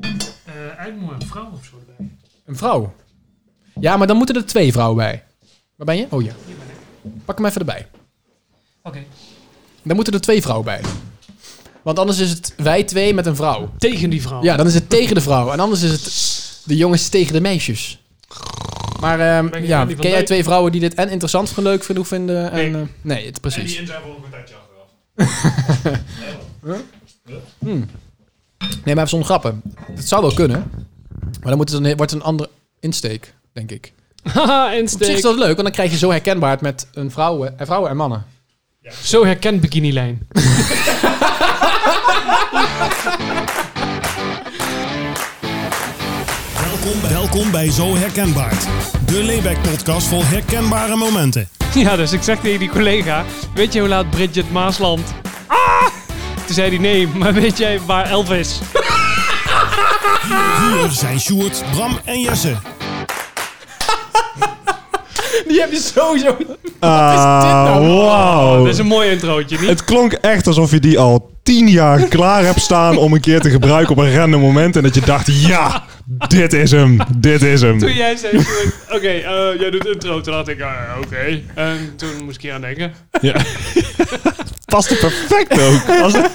eh eigenlijk moet een vrouw of zo erbij. Een vrouw. Ja, maar dan moeten er twee vrouwen bij. Waar ben je? Oh ja. Hier ben ik. Pak hem even erbij. Oké. Dan moeten er twee vrouwen bij. Want anders is het wij twee met een vrouw. Tegen die vrouw. Ja, dan is het tegen de vrouw. En anders is het de jongens tegen de meisjes. Maar ehm, Ben ik ja, er niet van ken jij bij? twee vrouwen die dit en interessant en leuk vinden? of vinden en, Nee. eh, nee het, En die precies. in zijn voor ook een tijdje achteraf. Nee, man. Nee, maar zonder grappen. Het zou wel kunnen. Maar dan moet het een, wordt het een andere insteek, denk ik. Haha, Op zich is insteek. dat leuk, want dan krijg je zo herkenbaar het met een vrouwen, en vrouwen en mannen. Zo herkent Bikinilijn. Welkom bij, welkom bij Zo Herkenbaar. De Layback-podcast vol herkenbare momenten. ja, dus ik zeg tegen die collega, weet je hoe laat Bridget Maasland... Ah! Toen zei hij nee, maar weet jij waar Elvis? Hier zijn Sjoerd, Bram en Jesse. Die heb je sowieso. Ah, Oh, Dat wow. nou? is een mooi introotje, niet? Het klonk echt alsof je die al tien jaar klaar hebt staan om een keer te gebruiken op een random moment. En dat je dacht, ja, dit is hem, dit is hem. Toen jij zei, Sjoerd, oké, eh, jij doet intro. Toen dacht ik, eh, oké. En toen moest ik hier aan denken. Past het perfect ook. Was het-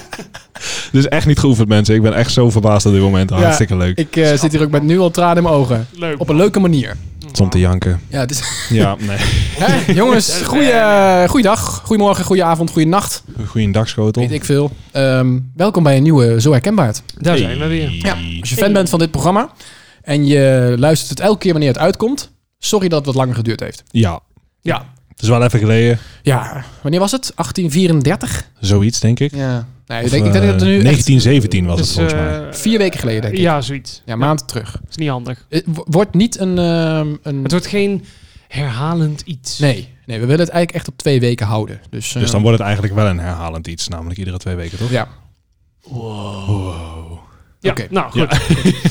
Dit is echt niet geoefend, mensen. Ik ben echt zo verbaasd op dit moment. Hartstikke leuk. Ik eh, zit hier ook met nu al tranen in mijn ogen. Leuk. Op een leuke manier. Soms te janken. Ja, het is, Ja, nee. hè, jongens, goeie, eh, goeiedag, goedemorgen, goeieavond, goeienacht. Goeiedag, schotel. Weet ik veel. Ehm, welkom bij een nieuwe Zo Herkenbaar. Daar zijn we weer. Ja, als je fan bent van dit programma en je luistert het elke keer wanneer het uitkomt, sorry dat het wat langer geduurd heeft. Ja, Ja. het is wel even geleden. Ja, wanneer was het? 1834? Zoiets, denk ik. Ja. Nee, Of, ik denk, ik denk dat het nu eh, echt 1917 was Dus, het volgens mij. eh, vier weken geleden, denk ik. Ja, zoiets. Ja, maand terug. Is niet handig. Het wo- wordt niet een... ehm, een... Het wordt geen herhalend iets. Nee, nee, we willen het eigenlijk echt op twee weken houden. Dus, eh, Dus dan wordt het eigenlijk wel een herhalend iets, namelijk iedere twee weken, toch? Ja. Ja, Oké. nou goed.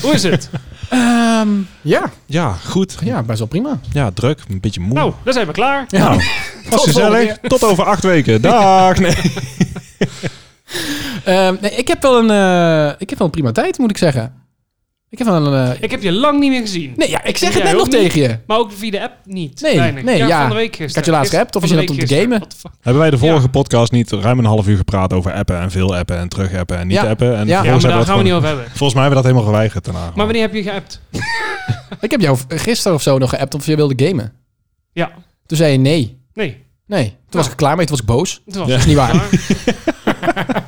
Hoe is het? Ehm, ja. Ja, goed. ja, best wel prima. Ja, druk. Een beetje moe. Nou, dan zijn we klaar. Ja. was gezellig. Tot over acht weken. Dag. Nee. Ehm, nee, ik heb wel een, eh, ik heb wel een prima tijd, moet ik zeggen. Ik heb wel een... eh, Ik heb je lang niet meer gezien. nee, ja, ik zeg het Jij net nog ook niet? tegen je. Maar ook via de app niet. Nee, Weinig. nee, ja. Van de week gisteren. Ik had je laatst Gisteren- geappt of van je de zat week om te gisteren. gamen? What the fuck? Hebben wij de vorige Ja. podcast niet ruim een half uur gepraat over appen en veel appen en terug appen en niet Ja. appen? En Ja, Ja. vervolgens maar daar hebben gaan we niet dat gewoon- over hebben. Volgens mij hebben we dat helemaal geweigerd daarna. Maar wanneer heb je geappt? Ik heb jou gisteren of zo nog geappt of je wilde gamen. Ja. Toen zei je nee. Nee. Nee. Toen was ik er klaar mee, toen was ik boos. Het was Nou. Ja. Dat is niet waar.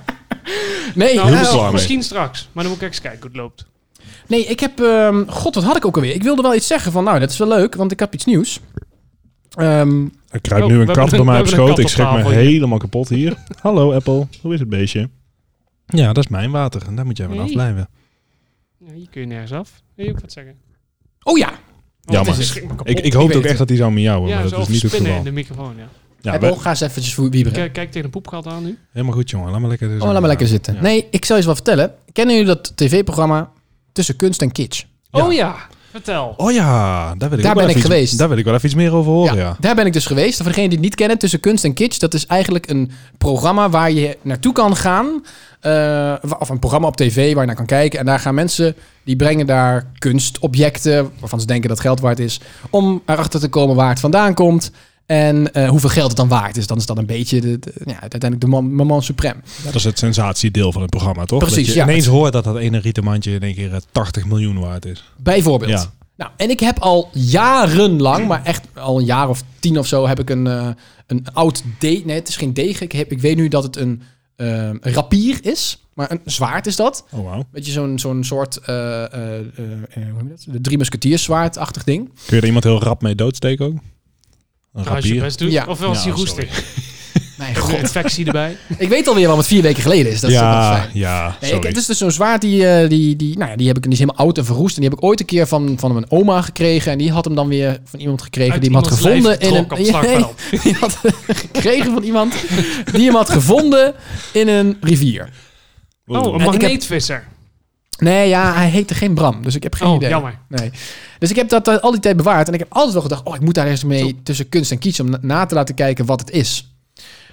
Nee, Nou, Heel eh, klaar mee. misschien straks. Maar dan moet ik eens kijken hoe het loopt. nee, ik heb... ehm, God, wat had ik ook alweer? Ik wilde wel iets zeggen van, nou, dat is wel leuk, want ik heb iets nieuws. Ehm, Er kruipt Oh, nu we een hebben kat bij een- mij we hebben op een schoot. kat Ik schrik op me tafel hier. helemaal kapot hier. Hallo Apple, hoe is het beestje? Ja, dat is mijn water en daar moet jij van Nee. afblijven. Ja, hier kun je nergens af. Wil je ook wat zeggen? oh ja, Want Jammer. het is schrik me kapot. Ik, ik Ik hoopte weet ook echt dat hij zou miauwen, ja, maar zo dat is niet het spinnen in geval. de microfoon, ja. Ja, Apple, we- ga eens eventjes voor wieberen. Kijk, kijk tegen de poepgat aan nu. helemaal goed jongen, laat maar lekker Oh, laat maar lekker zitten. Ja. Nee, ik zal je eens wat vertellen. Kennen jullie dat tv-programma Tussen Kunst en Kitsch? Ja. Oh ja, vertel. Oh ja, daar, wil ik Daar ook wel ben even ik iets- geweest. Daar wil ik wel even iets meer over horen, Oh, ja. Daar ben ik dus geweest. Voor degenen die het niet kennen, Tussen Kunst en Kitsch, dat is eigenlijk een programma waar je naartoe kan gaan. eh, wa- of een programma op tv waar je naar kan kijken. En daar gaan mensen, die brengen daar kunstobjecten, waarvan ze denken dat geld waard is, om erachter te komen waar het vandaan komt. En eh, hoeveel geld het dan waard is. Dan is dat een beetje de, de- ja, uiteindelijk de man- moment supreme. Dat is het sensatiedeel van het programma, toch? Precies, dat je ja. ineens hoort dat dat ene rietenmandje in één keer eh, 80 miljoen waard is. Bijvoorbeeld. Ja. Nou, en ik heb al jarenlang, maar echt al een jaar of tien of zo, heb ik een, eh, een oud degen. Nee, het is geen degen. Ik, heb, ik weet nu dat het een eh, rapier is, maar een zwaard is dat. Oh, wauw. Weet je, zo'n zo'n soort, eh, eh, eh, eh, hoe heet dat? De drie musketierzwaardachtig ding. Kun je er iemand heel rap mee doodsteken ook? Een Als je rapier? best doet. Ja. Of wel als Ja, die roestig. Mijn Een god. infectie erbij. ik weet alweer waarom het vier weken geleden is. Dat is ook wel ja, fijn. ja, Nee, ik, sorry. het is dus zo'n zwaard die, eh, die, die, nou ja, die heb ik, die is helemaal oud en verroest. En die heb ik ooit een keer van, van mijn oma gekregen. En die had hem dan weer van iemand gekregen. Uit die hem had iemands lijf gevonden in een. getrokken op slagveld. die had gekregen van iemand die hem had gevonden in een rivier. Oeh. Oh, een heb- magneetvisser. Nee, ja, hij heette geen Bram, dus ik heb geen Oh, idee. jammer. Nee. Dus ik heb dat eh, al die tijd bewaard en ik heb altijd wel gedacht, oh, ik moet daar eens mee tussen kunst en kies om na, na te laten kijken wat het is.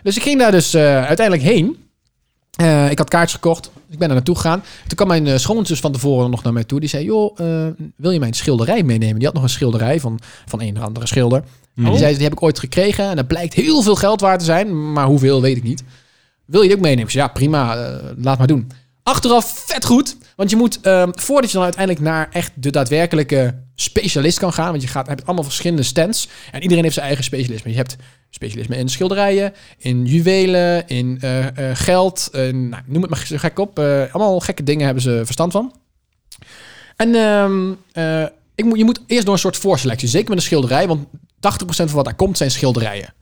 Dus ik ging daar dus eh, uiteindelijk heen. Eh, ik had kaartjes gekocht. Dus ik ben er naartoe gegaan. Toen kwam mijn eh, schoonzus van tevoren nog naar mij toe. Die zei, joh, eh, wil je mijn schilderij meenemen? Die had nog een schilderij van, van een of andere schilder. En Oh. die zei, die heb ik ooit gekregen. En dat blijkt heel veel geld waard te zijn. Maar hoeveel, weet ik niet. Wil je die ook meenemen? Ik zei, ja, prima. eh, laat maar doen. Achteraf vet goed. Want je moet, eh, voordat je dan uiteindelijk naar echt de daadwerkelijke specialist kan gaan. Want je gaat, hebt allemaal verschillende stands. En iedereen heeft zijn eigen specialisme. Je hebt specialisme in schilderijen, in juwelen, in eh, eh, geld. in- nou, noem het maar zo gek op. Eh, allemaal gekke dingen hebben ze verstand van. En ehm, eh, ik moet, je moet eerst door een soort voorselectie. Zeker met een schilderij. Want 80% van wat daar komt zijn schilderijen.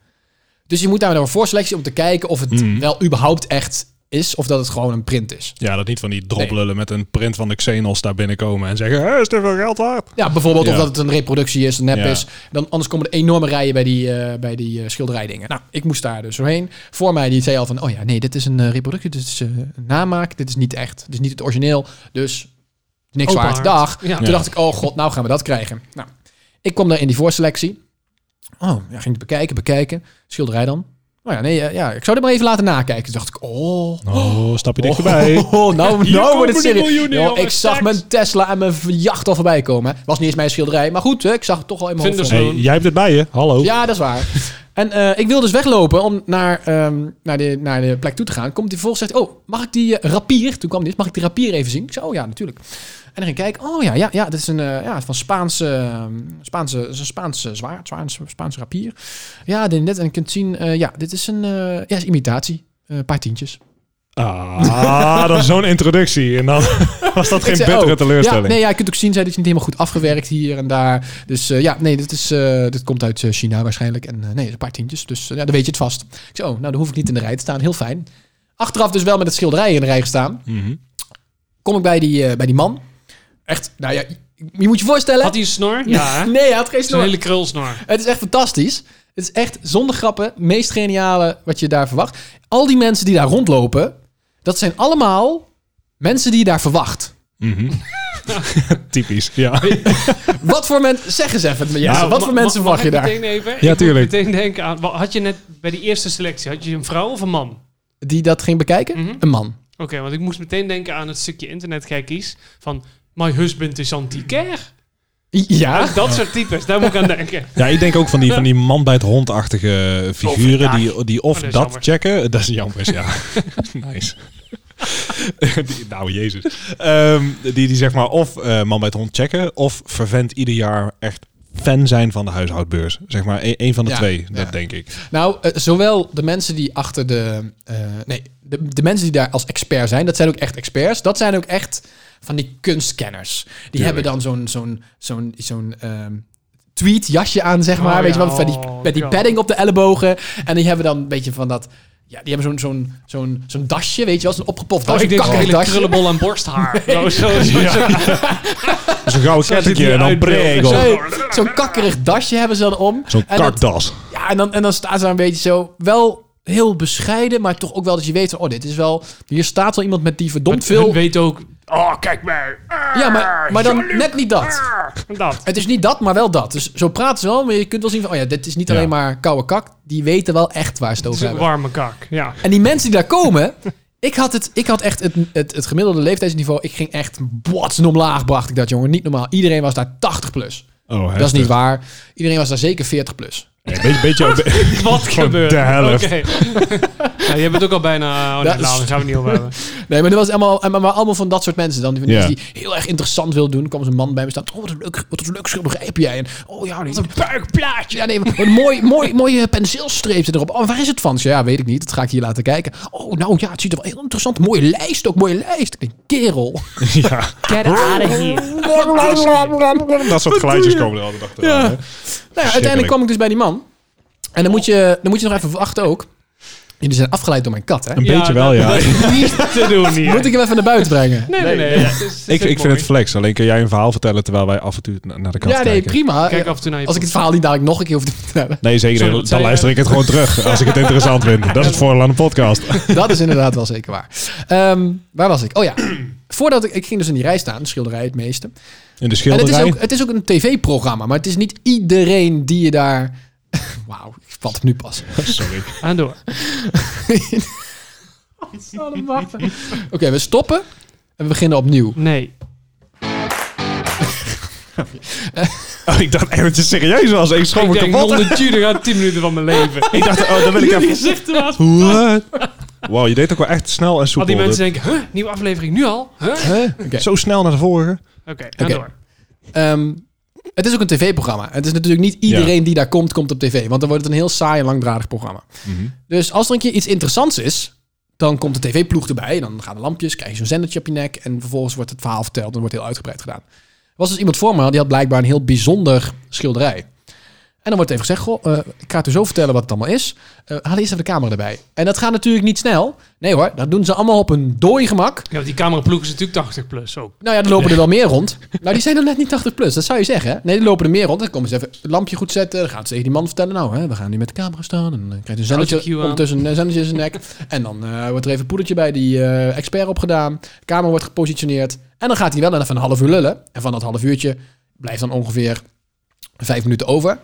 Dus je moet daar door een voorselectie om te kijken of het wel überhaupt echt is. Of dat het gewoon een print is. Ja, dat niet van die droplullen met een print van de Xenos daar binnenkomen en zeggen, "Hé, is dit veel geld waard? Ja, bijvoorbeeld Ja. of dat het een reproductie is, een nep Ja. is. Dan, anders komen er enorme rijen bij die, eh, bij die eh, schilderijdingen. Nou, ik moest daar dus doorheen. Voor mij die zei al van, oh ja, nee, dit is een eh, reproductie. Dit is eh, een namaak. Dit is niet echt. Dit is niet het origineel. Dus niks Open waard. haard. Dag. Ja. Toen Ja. dacht ik, oh god, nou gaan we dat krijgen. Nou, ik kwam daar in die voorselectie. Oh, ja, ging het bekijken, bekijken. Schilderij dan. Oh ja, nee, eh, ja, ik zou dit maar even laten nakijken. Toen dacht ik, oh... Oh, stapje dichterbij. Oh, nou, Hier nou wordt komen het die serieus. miljoenen, Joh, jongens, ik zag tax. mijn Tesla en mijn jacht al voorbij komen. hè. Was niet eens mijn schilderij, maar goed, hè, ik zag het toch al in mijn hoofd. Vinders- Hey, jij hebt het bij je, hallo. Ja, dat is waar. En eh, ik wil dus weglopen om naar, ehm, naar, de, naar de plek toe te gaan. Komt die volgens zegt, oh, mag ik die eh, rapier? Toen kwam die, eens, mag ik die rapier even zien? Ik zei, oh ja, natuurlijk. En dan ging ik kijken, oh ja, ja, ja, dit is een eh, ja, van Spaanse, ehm, Spaanse, het is een Spaanse zwaard, Spaanse, Spaanse rapier. Ja, dit, en dit. En je kunt zien, eh, ja, dit is een eh, ja, is imitatie. Eh, een paar tientjes. Ah, dat is zo'n introductie. En dan was dat geen Ik zei, bittere oh, teleurstelling. Ja, nee, ja, je kunt ook zien, zei dat je niet helemaal goed afgewerkt hier en daar. Dus eh, ja, nee, dit, is, eh, dit komt uit eh, China waarschijnlijk. En eh, nee, een paar tientjes. Dus eh, ja, dan weet je het vast. Ik zei, oh, nou, dan hoef ik niet in de rij te staan. Heel fijn. Achteraf dus wel met het schilderij in de rij gestaan. Mhm. Kom ik bij die, eh, bij die man. Echt, nou ja, je moet je voorstellen. Had hij een snor? Ja, hè? Nee, hij had geen Zo'n snor. hele krulsnor. Het is echt fantastisch. Het is echt zonder grappen, meest geniale wat je daar verwacht. Al die mensen die daar rondlopen, dat zijn allemaal mensen die je daar verwacht. Mhm. Typisch, ja. Wat voor mensen, zeg eens even, Jesse, Nou, wat voor Ma- mensen mag verwacht je ik daar? Meteen even? Ik Ja, moet tuurlijk. meteen denken aan... wa- Had je net bij die eerste selectie, had je een vrouw of een man? Oké, Die dat ging bekijken? Mhm. Een man. want ik moest meteen denken aan het stukje internetgekkies van... My husband is anti-care. I- Ja. Dat soort types, daar moet ik aan denken. Ja, ik denk ook van die, van die man bij het hondachtige Of, figuren ja. die, die of Oh, dat dat, is jammer. checken. Dat is jammer, ja. nice. Die- nou, jezus. Ehm, die, die zeg maar of eh, man bij het hond checken of vervent ieder jaar echt fan zijn van de huishoudbeurs. Zeg maar e- één van de Ja, twee, ja. dat denk ik. Nou, eh, zowel de mensen die achter de... eh, nee, de, de mensen die daar als expert zijn, dat zijn ook echt experts. Dat zijn ook echt van die kunstkenners. Die hebben dan zo'n zo'n zo'n zo'n ehm, tweed jasje aan, zeg maar. Oh, weet ja. je wel, met die, Oh, met die ja. padding op de ellebogen. En die hebben dan een beetje van dat... Ja, die hebben zo'n zo'n zo'n zo'n dasje, weet je wel. Zo'n opgepoft Oh, dasje, ik denk een een hele kakkerdasje. krullenbol en borsthaar. Zo, zo, zo, zo. Zo'n Dus gouden Zoals kettingje die en dan uitbeeldt. prego. Zo'n zo'n kakkerig dasje hebben ze dan om. Zo'n En dat- kartas. Ja, en dan, en dan staat ze daar een beetje zo wel heel bescheiden, maar toch ook wel dat je weet, van, oh, dit is wel, hier staat wel iemand met die verdomd Hun veel. weet ook Oh, kijk mij. Ja, maar, maar dan net niet dat. dat. Het is niet dat, maar wel dat. Dus zo praten ze wel, maar je kunt wel zien van, oh ja, dit is niet Ja. alleen maar koude kak. Die weten wel echt waar ze het Het over is een hebben. warme kak, ja. En die mensen die daar komen. Ik had, het, ik had echt het, het, het gemiddelde leeftijdsniveau. Ik ging echt botsen omlaag, bracht ik dat, jongen. Niet normaal. Iedereen was daar 80 plus. Oh, Dat is niet waar. Iedereen was daar zeker 40 plus. beetje, beetje, Wat gebeurt de helft. Oké. ja, je bent ook al bijna... Oh, nee, Dat nou, is- daar gaan we niet over hebben. Nee, maar dat was allemaal, allemaal, allemaal van dat soort mensen dan. Die, Ja. die heel erg interessant wil doen. Er kwam zo'n man bij me staan. Oh, wat een leuk, wat een leuk schilderij heb jij. En, oh ja, wat een buikplaatje. Ja, nee, wat een mooi, mooi, mooie penseelstreep zit erop. Oh, waar is het van? Ik zei, Ja, weet ik niet. Dat ga ik hier laten kijken. Oh, nou ja, het ziet er wel heel interessant. Mooie lijst ook, mooie lijst. Ik denk, kerel. ja. Get out of here. Dat soort geluidjes komen er altijd achteraan. hè? Nou ja, uiteindelijk kwam ik dus bij die man. En dan moet je, dan moet je nog even wachten ook. Jullie zijn afgeleid door mijn kat, hè? Een beetje wel, ja. Dat is niet te doen hier. Moet ik hem even naar buiten brengen? Nee, nee, nee. het is- het Ik, is ik vind mooi. het flex. Alleen kun jij een verhaal vertellen terwijl wij af en toe na- naar de kant Ja, nee, kijken. prima. Kijk af en toe naar je Als ik het verhaal niet dadelijk nog een keer hoef te vertellen. Nee, zeker. Sorry, wat niet. dan zei je? luister ik het gewoon terug als ik het interessant vind. Dat is het voordeel aan de podcast. Dat is inderdaad wel zeker waar. Ehm, waar was ik? Oh ja, voordat ik, ik ging dus in die rij staan, de schilderij het meeste. In de En het schilderij. is ook, het is ook een tv-programma, maar het is niet iedereen die je daar... Wauw, ik vat hem nu pas. Sorry. Aan door. Oké, we stoppen en we beginnen opnieuw. Nee. Oh, ik dacht echt dat je serieus was. Ik schrok Ik me denk, kapot. non de Judo gaat 10 minuten van mijn leven. Ik dacht, oh, dan wil ik Jullie even... gezichten was... What? Wow, je deed ook wel echt snel en Al die soepel. mensen Dat- denken, huh, nieuwe aflevering nu al? Huh? Oké, Huh? Oké. Zo snel naar de vorige. ga Oké. door. Ehm, het is ook een tv-programma. Het is natuurlijk niet iedereen die daar komt, komt op tv. Want dan wordt het een heel saai en langdradig programma. Dus als er een keer iets interessants is, dan komt de tv-ploeg erbij. Dan gaan de lampjes, krijg je zo'n zendertje op je nek. En vervolgens wordt het verhaal verteld en wordt heel uitgebreid gedaan. Er was dus iemand voor me, die had blijkbaar een heel bijzonder schilderij. En dan wordt even gezegd, goh, eh, ik ga het u zo vertellen wat het allemaal is. Eh haal eerst even de camera erbij. En dat gaat natuurlijk niet snel. Nee hoor, dat doen ze allemaal op een dooi gemak. Ja, want die cameraploeg is natuurlijk 80 plus ook. Nou ja, er lopen er wel meer rond. Nou, die zijn dan net niet 80 plus, dat zou je zeggen. Hè? Nee, er lopen er meer rond. Dan komen ze even het lampje goed zetten. Dan gaan ze tegen die man vertellen. Nou, hè, we gaan nu met de camera staan. En dan krijgt een Autocue zennetje aan. ondertussen een zennetje eh, in zijn nek. En dan eh, wordt er even een poedertje bij die eh, expert opgedaan. De camera wordt gepositioneerd. En dan gaat hij wel even een half uur lullen. En van dat half uurtje blijft dan ongeveer vijf minuten over.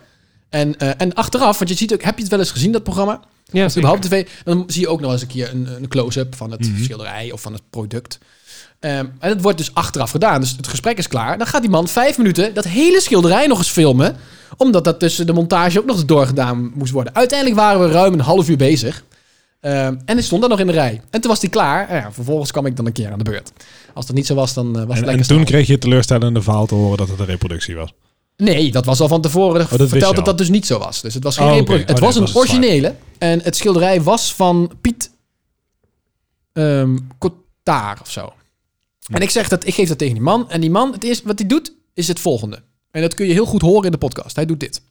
En, eh, en achteraf, want je ziet ook, heb je het wel eens gezien, dat programma? Ja, Als überhaupt tv, dan zie je ook nog eens een keer een, een close-up van het Mhm. schilderij of van het product. Ehm, en dat wordt dus achteraf gedaan. Dus het gesprek is klaar. Dan gaat die man vijf minuten dat hele schilderij nog eens filmen. Omdat dat tussen de montage ook nog eens doorgedaan moest worden. Uiteindelijk waren we ruim een half uur bezig. Ehm, en ik stond daar nog in de rij. En toen was die klaar. En ja, vervolgens kwam ik dan een keer aan de beurt. Als dat niet zo was, dan eh, was En, het en lekker toen snel. kreeg je het teleurstellende verhaal te horen dat het een reproductie was. Nee, dat was al van tevoren Oh, wist je verteld dat al. dat dus niet zo was. Dus het was geen Oh, oké. repro- Oh, Het nee, was dat een was het originele. En het schilderij was van Piet ehm Cotard of zo. En ik zeg dat, ik geef dat tegen die man. En die man, het eerste wat hij doet, is het volgende. En dat kun je heel goed horen in de podcast. Hij doet dit.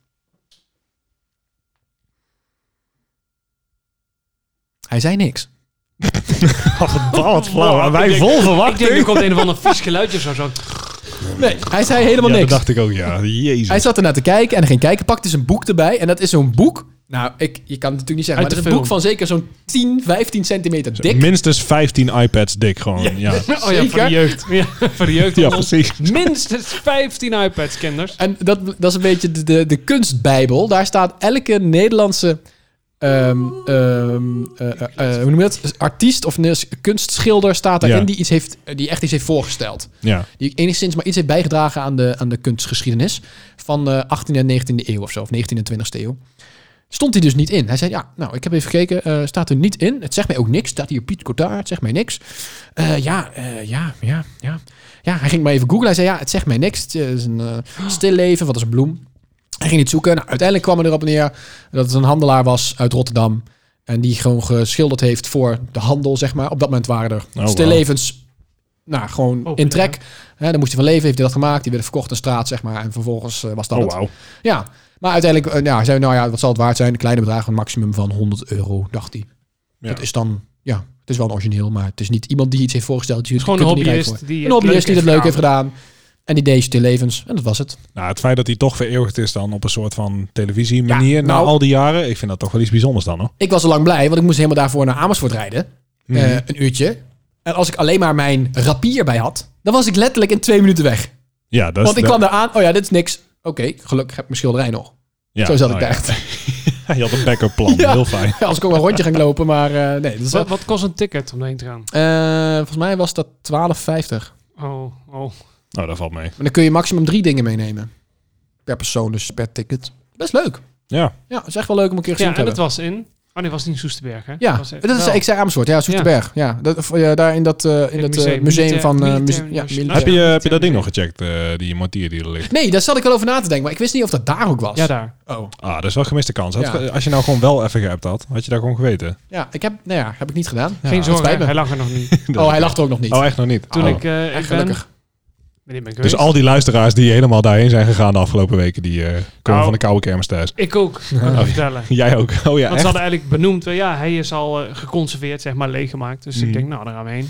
Hij zei niks. Wat flauw. En wij vol Oh, Ik denk, verwachting. er komt een of ander vies geluidje of zo. Oh zo. Nee, hij zei helemaal Ja, dat niks. dacht ik ook, ja. Jezus. Hij zat ernaar te kijken en ging kijken, pakte zijn boek erbij. En dat is zo'n boek. Nou, ik, je kan het natuurlijk niet zeggen, Uit maar het is de een boek film. van zeker zo'n 10, 15 centimeter dik. Minstens 15 iPads dik gewoon. Ja, ja. Oh ja, van Zeker. de jeugd. Ja, van de jeugd. precies. Minstens 15 iPads, kinders. En dat, dat is een beetje de, de, de kunstbijbel. Daar staat elke Nederlandse ehm, ehm, eh, eh, eh, hoe noem je dat? artiest of ne- kunstschilder staat daarin Ja. die, iets heeft, die echt iets heeft voorgesteld. Ja. Die enigszins maar iets heeft bijgedragen aan de, aan de kunstgeschiedenis van de 18e en 19e eeuw of zo, of 19e en 20e eeuw. Stond hij dus niet in. Hij zei, ja, nou, ik heb even gekeken, eh, staat er niet in. Het zegt mij ook niks. Staat hier Piet Cotard, het zegt mij niks. Eh, ja, eh, ja, ja, ja. Ja, hij ging maar even googlen. Hij zei, ja, het zegt mij niks. Het is een eh, stilleven, wat is een bloem? Hij ging het zoeken. Nou, uiteindelijk kwam hij erop neer dat het een handelaar was uit Rotterdam. En die gewoon geschilderd heeft voor de handel, zeg maar. Op dat moment waren er wow. stillevens, nou, gewoon Oh, in trek. Hè, daar moest hij van leven, heeft hij dat gemaakt. Die werden verkocht aan straat, zeg maar. En vervolgens eh, was dat Oh, het. wauw. Ja, maar uiteindelijk eh, ja, zei hij, nou ja, wat zal het waard zijn? Een kleine bedrag, een maximum van 100 euro, dacht hij. Ja. Dat is dan, ja, het is wel een origineel, maar het is niet iemand die iets heeft voorgesteld. Je is gewoon kunt een er niet rijk hobbyist voor. die Een het hobbyist die leuk dat heeft leuk heeft gedaan. En die deed levens. En dat was het. Nou, het feit dat hij toch vereeuwigd is dan op een soort van televisie manier na nou- al die jaren. Ik vind dat toch wel iets bijzonders dan hoor. Ik was al lang blij, want ik moest helemaal daarvoor naar Amersfoort rijden. Eh, een uurtje. En als ik alleen maar mijn rapier bij had, dan was ik letterlijk in twee minuten weg. Ja, dat is Want ik de- kwam daar aan, oh ja, dit is niks. Oké, gelukkig heb ik mijn schilderij nog. Ja, Zo zat oh ik ja. daar echt. Je had een backup plan. Ja. Heel fijn. Ja, als ik ook wel een rondje ging lopen, maar eh, nee. Dat is wel- Wat, wat kost een ticket om daarheen te gaan? Eh, volgens mij was dat 12,50. Oh, oh. Nou, dat valt mee. Maar dan kun je maximum drie dingen meenemen. Per persoon, dus per ticket. Best leuk. Ja. Ja, is echt wel leuk om een keer gezien Ja, te en dat hebben. was in... Oh nee, was niet in Soesterberg, hè? Ja, Was dat is, ik zei Amersfoort. Ja, Soesterberg. Ja. dat, of, ja, daar in dat, eh, in Het dat eh, museum. museum, Militair- van... eh, militair muse- ja, nationaal- militair. Heb, je, Ja. heb je dat ding nog gecheckt, eh, die mortier die er ligt? Nee, daar zat ik wel over na te denken. Maar ik wist niet of dat daar ook was. Ja, daar. Oh. Ah, dat is wel gemiste kans. Had- Ja. Als je nou gewoon wel even geappt had, had je daar gewoon geweten. Ja, ik heb, nou ja, heb ik niet gedaan. Ja, Geen dat zorgen, spijt me. hij lag er nog niet. Oh, hij lacht er ook nog niet. Oh, echt nog niet? Toen Oh. ik, eh, ik ben... Echt gelukkig. Wanneer ben ik Dus geweest? al die luisteraars die helemaal daarheen zijn gegaan de afgelopen weken, die eh, komen Nou. van de koude kermis thuis. Ik ook, kan ik vertellen. Jij ook. Oh ja, Want ze echt? hadden eigenlijk benoemd, eh, ja, hij is al eh, geconserveerd, zeg maar, leeggemaakt. Dus Mhm. ik denk, nou, daar gaan we heen.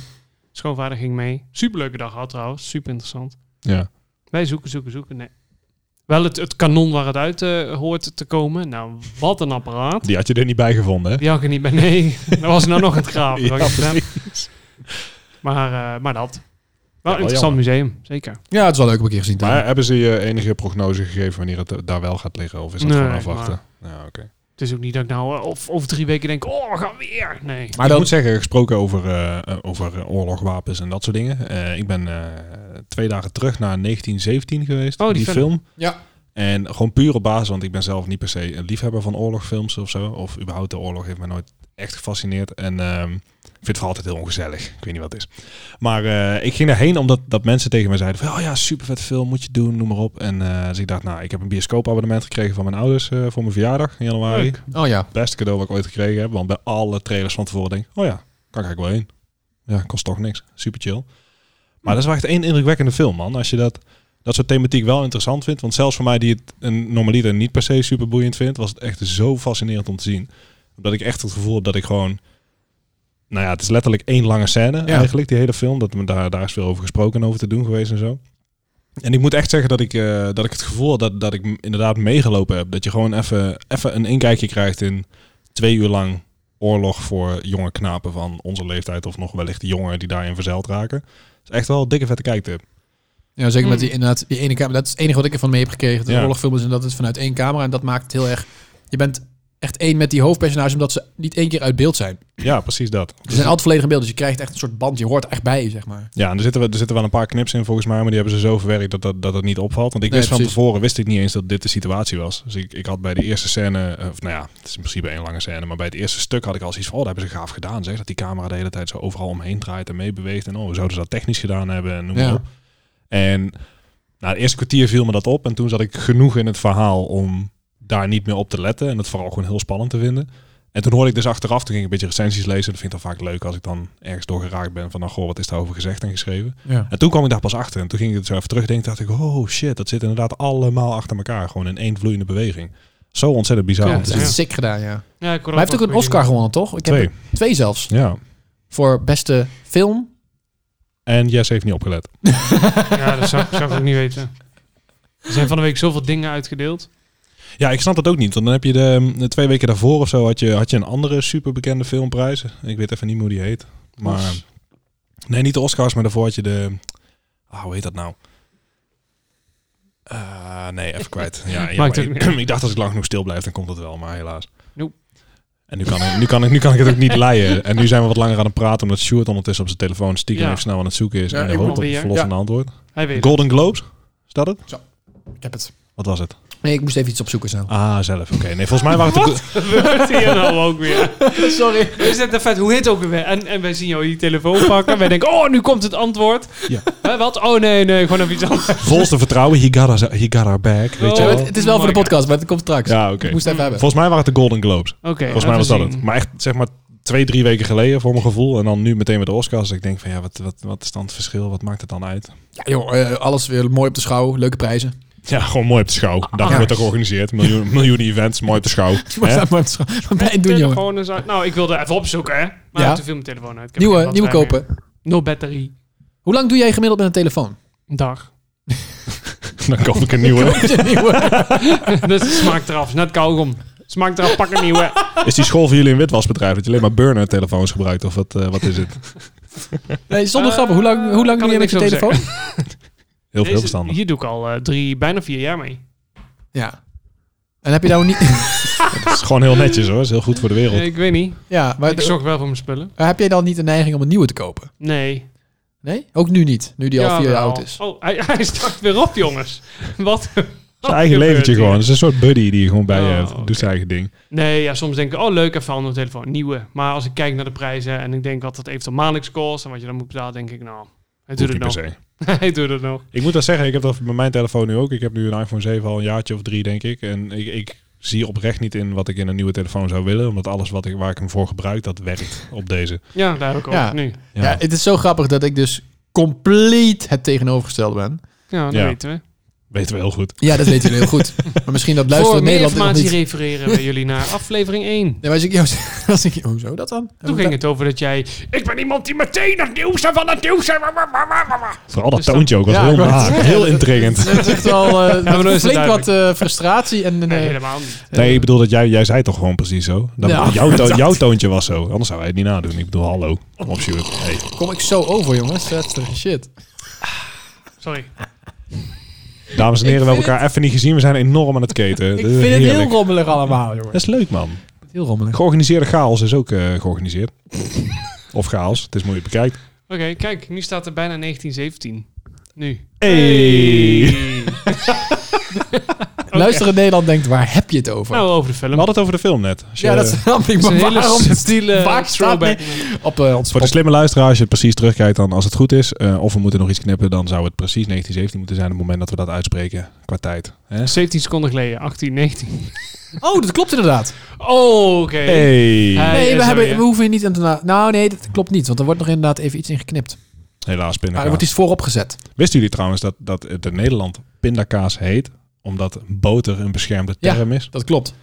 Schoonvader ging mee. Superleuke dag gehad trouwens, super interessant. Ja. Wij zoeken, zoeken, zoeken. Nee. Wel het, het kanon waar het uit eh, hoort te komen. Nou, wat een apparaat. Die had je er niet bij gevonden, hè? Die had ik er niet bij. Nee, dat was nou nog aan het graven. Ja, wat ik gedaan. precies. maar, eh, maar dat. Wel wel een interessant museum, zeker. Ja, het is wel leuk om een keer gezien te Maar hebben. hebben ze je enige prognose gegeven wanneer het eh, daar wel gaat liggen? Of is dat Nee, gewoon afwachten? Ja, oké. Het is ook niet dat ik nou eh, of over drie weken denk, oh, we gaan weer. Nee. Maar ik dat, moet zeggen, gesproken over, eh, eh, over eh, oorlogswapens en dat soort dingen. Eh, ik ben eh, twee dagen terug naar 1917 geweest, Oh, die die, film. film. Ja. En gewoon puur op basis, want ik ben zelf niet per se een liefhebber van oorlogfilms of zo. Of überhaupt de oorlog heeft mij nooit echt gefascineerd. En ehm, ik vind het vooral altijd heel ongezellig. Ik weet niet wat het is. Maar eh, ik ging daarheen omdat dat mensen tegen mij zeiden van... Oh ja, super vet film, moet je doen, noem maar op. En eh, dus ik dacht, nou, ik heb een bioscoopabonnement gekregen van mijn ouders eh, voor mijn verjaardag in januari Leuk. oh ja. beste cadeau wat ik ooit gekregen heb. Want bij alle trailers van tevoren denk ik, oh ja, kan ik eigenlijk wel heen. Ja, kost toch niks. Super chill. Maar dat is wel echt één indrukwekkende film, man. Als je dat, dat soort thematiek wel interessant vindt. Want zelfs voor mij, die het een normaliter niet per se super boeiend vindt, was het echt zo fascinerend om te zien. Dat ik echt het gevoel heb dat ik gewoon... Nou ja, het is letterlijk één lange scène eigenlijk, die hele film. Dat, me daar, daar is veel over gesproken en over te doen geweest en zo. En ik moet echt zeggen dat ik, eh, dat ik het gevoel had dat, dat ik m- inderdaad meegelopen heb. Dat je gewoon even even een inkijkje krijgt in twee uur lang oorlog voor jonge knapen van onze leeftijd. Of nog wellicht jongeren die daarin verzeild raken. Dat is echt wel een dikke vette kijktip. ja, zeker met Mm. die, inderdaad, die ene camera. Dat is het enige wat ik ervan mee heb gekregen. Dat Ja. oorlogfilms en dat is vanuit één camera. En dat maakt het heel erg... Je bent echt één met die hoofdpersonage, omdat ze niet één keer uit beeld zijn. Ja, precies dat. Ze zijn altijd volledig in beeld, dus je krijgt echt een soort band. Je hoort er echt bij, zeg maar. Ja, en er zitten, wel- er zitten wel een paar knips in volgens mij, maar die hebben ze zo verwerkt dat dat, dat het niet opvalt. Want ik Nee, wist van precies. tevoren, wist ik niet eens dat dit de situatie was. Dus ik, ik had bij de eerste scène, eh, of nou ja, het is in principe één lange scène, maar bij het eerste stuk had ik al zoiets van, oh, dat hebben ze gaaf gedaan. Zeg, dat die camera de hele tijd zo overal omheen draait en meebeweegt. En oh, we zouden ze dat technisch gedaan hebben en noem maar Ja. op. En na het eerste kwartier viel me dat op en toen zat ik genoeg in het verhaal om daar niet meer op te letten en het vooral gewoon heel spannend te vinden. En toen hoorde ik dus achteraf, toen ging ik een beetje recensies lezen. Dat vind ik dan vaak leuk als ik dan ergens door geraakt ben van, nou, goh, wat is daarover gezegd en geschreven. Ja. En toen kwam ik daar pas achter. En toen ging ik het zo even terugdenken. Dacht ik, oh shit, dat zit inderdaad allemaal achter elkaar. Gewoon in één vloeiende beweging. Zo ontzettend bizar. Ja, om dat te is zien. echt sick gedaan, ja. Maar Ja, ik hoor hij heeft ook wel een Oscar goede gewonnen, toch? Ik heb Twee. er- twee zelfs. Ja. Voor beste film. En Jess heeft niet opgelet. dingen. Ja, dat zou, ik- zou ik ook niet weten. Er zijn van de week zoveel dingen uitgedeeld. Ja, ik snap dat ook niet. Want dan heb je de, de twee weken daarvoor of zo had je, had je een andere superbekende filmprijs. Ik weet even niet meer hoe die heet. Maar nee, niet de Oscars, maar daarvoor had je de. Ah, hoe heet dat nou? Eh, nee, even kwijt. Ja, ja, Maakt maar ook ik, ik dacht als ik lang genoeg stil blijf, dan komt het wel, maar helaas. Nope. En nu kan, ik, nu, kan ik, nu kan ik het ook niet leien. En nu zijn we wat langer aan het praten, omdat Stuart ondertussen op zijn telefoon stiekem Ja. even snel aan het zoeken is. Ja, en hij ik hoopt op probeer. een verlossende antwoord. Hij weet Golden Globes? Is dat het? Ik heb het. Wat was het? Nee, ik moest even iets opzoeken snel. Ah, zelf. Oké. Nee, volgens mij waren het de, het. Gebeurt hier nou ook weer. Sorry. Is het een vet, hoe heet het ook weer? En, en wij zien jou die telefoon pakken. Wij denken, oh, nu komt het antwoord. Ja. Hè, wat? Oh, nee, nee, gewoon even iets anders. Volste vertrouwen, he got, us- he got our back. Weet je Oh, wel? het, het is wel voor de podcast, maar het komt straks. Ja, oké. Ik moest even hebben. Volgens mij waren het de Golden Globes. Oké, Volgens mij was even dat het. zien. Maar echt, zeg maar, twee, drie weken geleden voor mijn gevoel. En dan nu meteen met de Oscars. Ik denk van, ja, wat, wat, wat is dan het verschil? Wat maakt het dan uit? Ja, joh, eh, alles weer mooi op de schouw. Leuke prijzen. Ja, gewoon mooi op de schouw. Dat ja. wordt er georganiseerd. Miljoen, miljoenen events, mooi op de schouw. Wat Hè? ben je aan het doen, jongen? Telefoon is uit. Nou, ik wilde even opzoeken, hè. Maar Ja. ja. toen viel mijn telefoon uit. Ik heb Nieuwe, geen nieuwe batterij meer. kopen. Nul batterie. Hoe lang doe jij gemiddeld met een telefoon? Een dag. Dan koop ik een nieuwe. Nieuwe. dus het smaakt eraf. Is Net kauwgom. Smaakt eraf, pak een nieuwe. Is die school voor jullie een witwasbedrijf? Dat je alleen maar burner telefoons gebruikt? Of wat, eh, wat is het? Nee, zonder Eh, grappen. Hoe lang, hoe lang kan doe jij ik met je niks over telefoon? Heel, heel Deze- verstandig. Hier doe ik al eh, drie, bijna vier jaar mee. Ja. En heb je nou niet... Dat is gewoon heel netjes hoor. Dat is heel goed voor de wereld. Eh, ik weet niet. Ja, maar ik zorg wel voor mijn spullen. heb jij dan niet de neiging om een nieuwe te kopen? Nee. Nee? Ook nu niet, nu die al vier jaar Jawel. oud is. Oh, hij, hij start weer op, jongens. Wat? wat Zijn eigen gebeurt leventje hier? gewoon. Het is een soort buddy die je gewoon bij je Oh, hebt. Doet oké. zijn eigen ding. Nee, ja, soms denk ik, oh leuk, even een andere telefoon, nieuwe. Maar als ik kijk naar de prijzen en ik denk wat dat eventueel maandelijks kost en wat je dan moet betalen, denk ik, nou, hij doet Hoeft het niet per nog. se. hij doet het nog. Ik moet dat zeggen, ik heb dat bij mijn telefoon nu ook. Ik heb nu een iPhone 7 al een jaartje of drie, denk ik. En ik, ik zie oprecht niet in wat ik in een nieuwe telefoon zou willen. Omdat alles wat ik, waar ik hem voor gebruik, dat werkt op deze. Ja, daar heb ik ook Ja. nu. Ja. het is zo grappig dat ik dus compleet het tegenovergestelde ben. Ja, dat Ja. weten we. Weten we heel goed. Ja, dat weten jullie heel goed. Maar misschien dat Voor luisteren meer Nederland nog informatie niet. refereren we jullie naar aflevering 1. Nee, maar als ik, ja, als ik, hoezo dat dan? Toen ging het over dat jij... Ik ben iemand die meteen het nieuwste van het nieuwste... Vooral dat Dus dan- toontje ook was Ja, heel ik wou het naar. Heel intrigant. Dat is echt wel eh, maar dan is het flink duidelijk. wat eh, frustratie. En, Nee, eh, helemaal niet. Nee, ik bedoel dat jij, jij zei toch gewoon precies zo. Dat, Ja, jouw, to- dat- jouw toontje was zo. Anders zou hij het niet nadoen. Ik bedoel, hallo. Kom op, Stuart. Hey. kom ik zo over, jongens. Dat is toch shit. Sorry. Dames en heren, we Ik hebben elkaar even niet gezien. We zijn enorm aan het keten. Ik Dat is vind het heel heerlijk. rommelig allemaal, jongen. Dat is leuk, man. Heel rommelig. Georganiseerde chaos is ook eh, georganiseerd. of chaos, het is mooi bekijkt. Oké, kijk, nu staat er bijna 1917. Nu. Hey. Luister in Nederland denkt, waar heb je het over? Nou, over de film. We hadden het over de film net. Als je- Dus ja, dat snap ik. Het is Maar een hele waarom subtiele waar staat Eh, throwback. op eh, ons Voor de slimme luisteraar, als je het precies terugkijkt, dan als het goed is, eh, of we moeten nog iets knippen, dan zou het precies 1917 moeten zijn op het moment dat we dat uitspreken qua tijd. Hè? 17 seconden geleden, 18, 19. Oh, dat klopt inderdaad. Oh, oké. Hey. Hey, Nee, ja, we, sorry, hebben, hè. we hoeven je niet aan te... na- Nou, nee, dat klopt niet. Want er wordt nog inderdaad even iets in geknipt. Helaas, Maar er pindakaas. wordt iets voorop gezet. Wisten jullie trouwens dat, dat het in Nederland pindakaas heet? Omdat boter een beschermde Ja. term is. Dat klopt.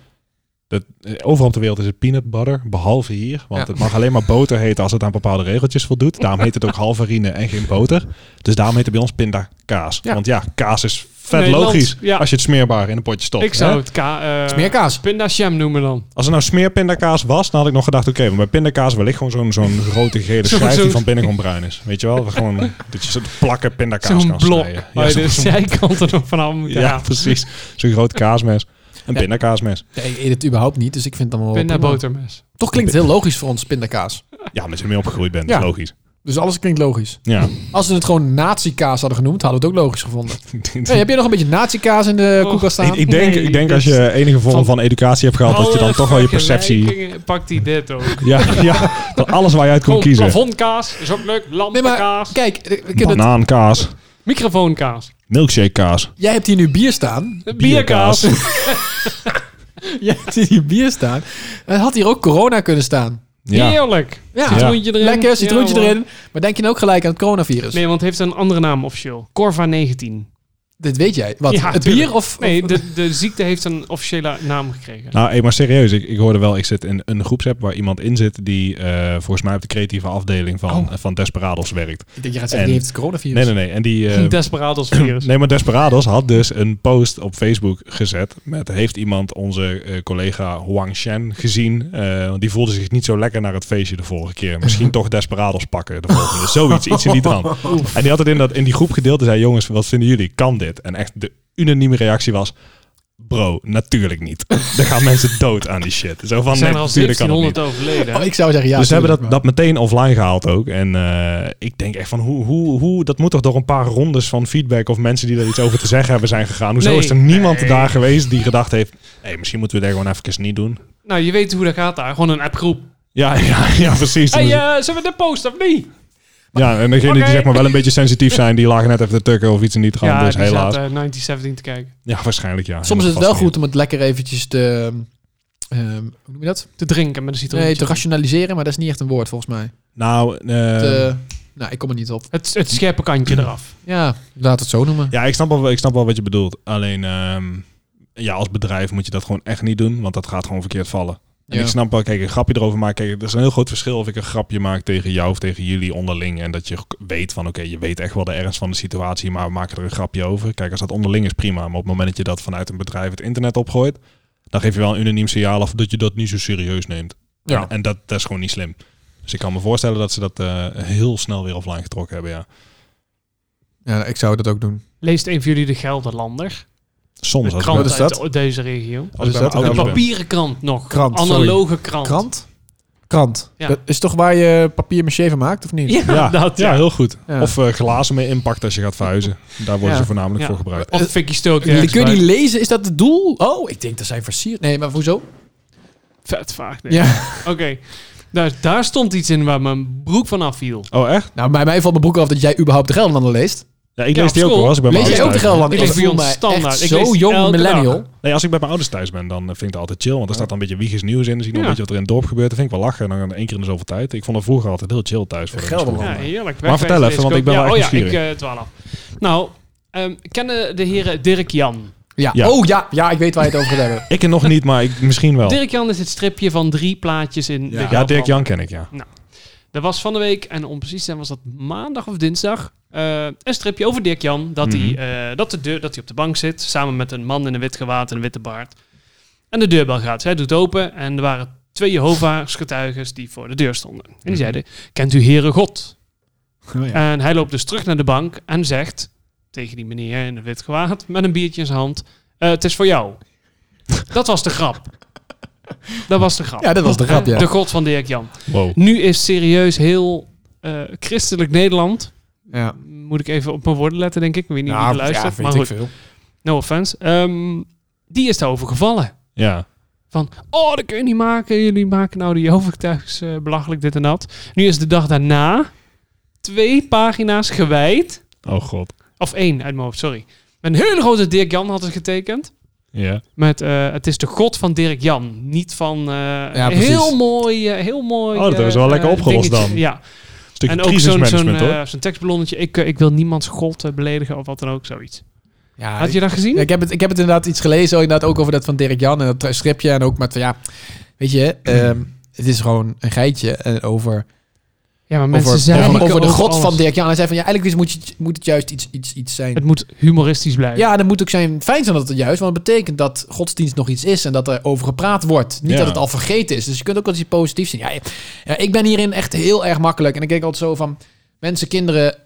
Dat, eh, overal op de wereld is het peanut butter, behalve hier. Want Ja. het mag alleen maar boter heten als het aan bepaalde regeltjes voldoet. Daarom heet het ook halvarine en geen boter. Dus daarom heet het bij ons pindakaas. Ja. Want ja, kaas is vet Nederland, logisch ja. als je het smeerbaar in een potje stopt. Ik hè? zou het ka eh Smeerkaas. Pinda Sham noemen dan. Als er nou smeerpindakaas was, dan had ik nog gedacht... oké, maar bij pindakaas wellicht gewoon zo'n zo'n grote gele Zo'n- schijf... die zo'n- van binnen gewoon bruin is. Weet je wel? Dat Gewoon, dat je zo'n plakken pindakaas Zo'n kan blok. snijden. Waar je dus- de zo'n- zijkant er nog vanaf moet ja, halen. precies. Zo'n groot kaasmes. Een Ja. pindakaasmes. Nee, ik eet het überhaupt niet. Dus ik vind het allemaal wel Pinda prima. botermes. Toch klinkt het heel logisch voor ons, pindakaas. Ja, omdat je ermee opgegroeid bent. Ja. Dat is logisch. Dus alles klinkt logisch. Ja. Als ze het gewoon nazi-kaas hadden genoemd, hadden we het ook logisch gevonden. Hey, heb jij nog een beetje nazi-kaas in de Och, koelkast Ik, staan? ik denk, Nee, dus ik denk als je enige vorm Van- Oh, van educatie hebt gehad... dat je dan Alle toch wel je perceptie... vergelijkingen Pakt hij dit ook. Ja, ja, van alles waar je uit kon Gewoon kiezen. plafondkaas is ook leuk. Nee, maar Lampenkaas. kijk, eh, we kunnen het- Banaankaas, Microfoonkaas. milkshakekaas, jij hebt hier nu bier staan. Bierkaas. jij hebt hier nu bier staan. Het had hier ook corona kunnen staan. Ja. Heerlijk. Ja, Citroentje erin. lekker, citroentje Ja, hoor. erin. Maar denk je nou ook gelijk aan het coronavirus? Nee, want het heeft een andere naam officieel. Corva 19. Dit weet jij. Wat, Ja, het tuurlijk. bier of... Nee, of- de, de ziekte heeft een officiële naam gekregen. Nou, hey, maar serieus, ik, ik hoorde wel, ik zit in een groepsapp waar iemand in zit die eh, volgens mij op de creatieve afdeling van, Oh. van Desperados werkt. ik denk, je gaat zeggen, die en- heeft het coronavirus. Nee, nee, nee. En die, eh, Desperados virus. nee, maar Desperados had dus een post op Facebook gezet met heeft iemand onze eh, collega Huang Shen gezien? Eh, Want die voelde zich niet zo lekker naar het feestje de vorige keer. Misschien toch Desperados pakken de volgende. Zoiets, iets in die trant. En die had het in, dat, in die groep gedeeld en zei, jongens, wat vinden jullie? Kan dit? En echt de unanieme reactie was... Bro, natuurlijk niet. Er gaan mensen dood aan die shit. Zo van, Er zijn nee, er al natuurlijk kan het niet. 1700 overleden. Oh, ik zou zeggen ja. dus ze hebben dat, tuurlijk, dat meteen offline gehaald ook. En eh, ik denk echt van hoe, hoe, hoe, dat moet toch door een paar rondes van feedback of mensen die daar iets over te zeggen hebben zijn gegaan. Hoezo Nee. is er niemand Nee. daar geweest die gedacht heeft, hey, misschien moeten we dit gewoon even niet doen. Nou, je weet hoe dat gaat daar. Gewoon een appgroep. Ja, ja, ja precies. Dus, Hey, eh, zullen we de post of niet? ja, en degenen Oké. die zeg maar wel een beetje sensitief zijn, die lagen net even te tukken of iets in die trant. ja, dus die helaas. zaten 1917 te kijken. Ja, waarschijnlijk ja. maar. Soms is het wel Vast goed om het lekker eventjes te... ehm, hoe noem je dat? Te drinken met een citroentje. Nee, te rationaliseren, maar dat is niet echt een woord volgens mij. niet. Nou, eh, Te- nou, ik kom er niet op. het, het scherpe kantje eraf. Ja, laat het zo noemen. Ja, ik snap wel, ik snap wel wat je bedoelt. Alleen, ehm, ja, als bedrijf moet je dat gewoon echt niet doen, want dat gaat gewoon verkeerd vallen. En Ja. ik snap wel, kijk, een grapje erover maken. Kijk, er is een heel groot verschil of ik een grapje maak tegen jou of tegen jullie onderling. En dat je k- weet van, oké, je weet echt wel de ernst van de situatie, maar we maken er een grapje over. Kijk, als dat onderling is prima, maar op het moment dat je dat vanuit een bedrijf het internet opgooit, dan geef je wel een unaniem signaal af dat je dat niet zo serieus neemt. Ja. En, en dat, dat is gewoon niet slim. Dus ik kan me voorstellen dat ze dat eh, heel snel weer offline getrokken hebben, ja. Ja, ik zou dat ook doen. Leest een van jullie de Gelderlander? Soms. Een als ik krant bij- is dat? dus- Oh, uit de- deze regio. als ik bij dat? mijn Een ouders ben. papieren krant nog. Krant, Een sorry. analoge krant. Krant? Krant. Ja. Dat is toch waar je papier maché van maakt, of niet? Ja, Ja, dat ja, ja. heel goed. Ja. Of eh, glazen mee impact als je gaat verhuizen. Daar Ja. worden ze voornamelijk Ja. voor gebruikt. Of Vicky Stook. Kun ergens je bij. die lezen? Is dat het doel? Oh, ik denk dat zijn versierd. Nee, maar hoezo? Vet vaag. dit. Ja. Oké. Daar, daar stond iets in waar mijn broek van afviel. Oh, echt? Nou, bij mij valt mijn boek af dat jij überhaupt de Gelderlander leest. Ja, ik Ja, lees die op ook school. wel als ik bij mijn Lees jij ook de ouders thuis ben. Gelderlander? Ik lees Ik bij voel ons mij standaard. echt Ik zo lees jong elke millennial. Nee, als ik bij mijn ouders thuis ben, dan eh, vind ik dat altijd chill. Want er staat dan een beetje wiegisch nieuws in. Dan zie ik nog Ja. een beetje wat er in het dorp gebeurt. Dan vind ik wel lachen. En dan één keer in de zoveel tijd. Ik vond dat vroeger altijd heel chill thuis. Voor de Gelderlander. Ja, school. heerlijk. Maar vertel Wegwijs even, want ik ben lees wel ook- echt ja, Oh ja, nieuwsgierig. ik twaalf. nou, ehm, kennen de heren Dirk Jan? Ja. Ja. Oh ja, ja, ik weet waar je het over gaat hebben. Ik en nog niet, maar ik, misschien wel. Dirk Jan is het stripje van drie plaatjes in de ja, Gelderlander. Dirk Jan ken ik, ja. Er was van de week, en om precies te zijn was dat maandag of dinsdag, eh, een stripje over Dirk Jan. Dat hij Mhm. eh, dat de deur- dat hij op de bank zit, samen met een man in een wit gewaad en een witte baard. En de deurbel gaat. Zij doet open en er waren twee Jehovah's getuigen die voor de deur stonden. En Mhm. Oh, die zeiden, kent u Heere God? En hij loopt dus terug naar de bank en zegt, tegen die meneer in het wit gewaad met een biertje in zijn hand. "Eh, het is voor jou. Dat was de grap. Dat was de grap. Ja, dat was de grap, ja. De god van Dirk Jan. Wow. Nu is serieus heel eh, christelijk Nederland. Ja. Moet ik even op mijn woorden letten, denk ik. Ik weet niet wie er luistert. Nou, ja, maar weet goed, ik veel. no offense. Ehm, die is daarover gevallen. Ja. Van, oh, dat kun je niet maken. Jullie maken nou die overtuigers eh, belachelijk, dit en dat. Nu is de dag daarna twee pagina's gewijd. Oh god. Of één uit mijn hoofd, sorry. Een hele grote Dirk Jan had het getekend. Ja. Met, eh, het is de god van Dirk Jan. Niet van, eh, precies. heel mooi, eh, heel mooi. Oh, dat hebben ze eh, wel lekker eh, opgelost dingetje. dan. Ja, Stukje en ook zo'n zo'n crisismanagement hoor. eh, zo'n tekstballonnetje. Ik, eh, ik wil niemands god eh, beledigen of wat dan ook, zoiets. Ja, Had je dat gezien? Ja, ik, heb het, ik heb het inderdaad iets gelezen, ook inderdaad ook over dat van Dirk Jan en dat tra- stripje. En ook met van ja, weet je, Hmm. ehm, het is gewoon een geitje en over, ja, maar over, over, zeiken over de over god alles. van Dirk Jan. Hij zei van ja, eigenlijk is, moet, je, moet het juist iets, iets, iets Het zijn. moet humoristisch blijven. Ja, en het moet ook zijn, fijn zijn dat het juist, want het betekent dat godsdienst nog iets is en dat er over gepraat wordt. Niet Ja. dat het al vergeten is. Dus je kunt ook wel iets positiefs zien. Ja, ja, ik ben hierin echt heel erg makkelijk. En ik denk altijd zo van, mensen, kinderen,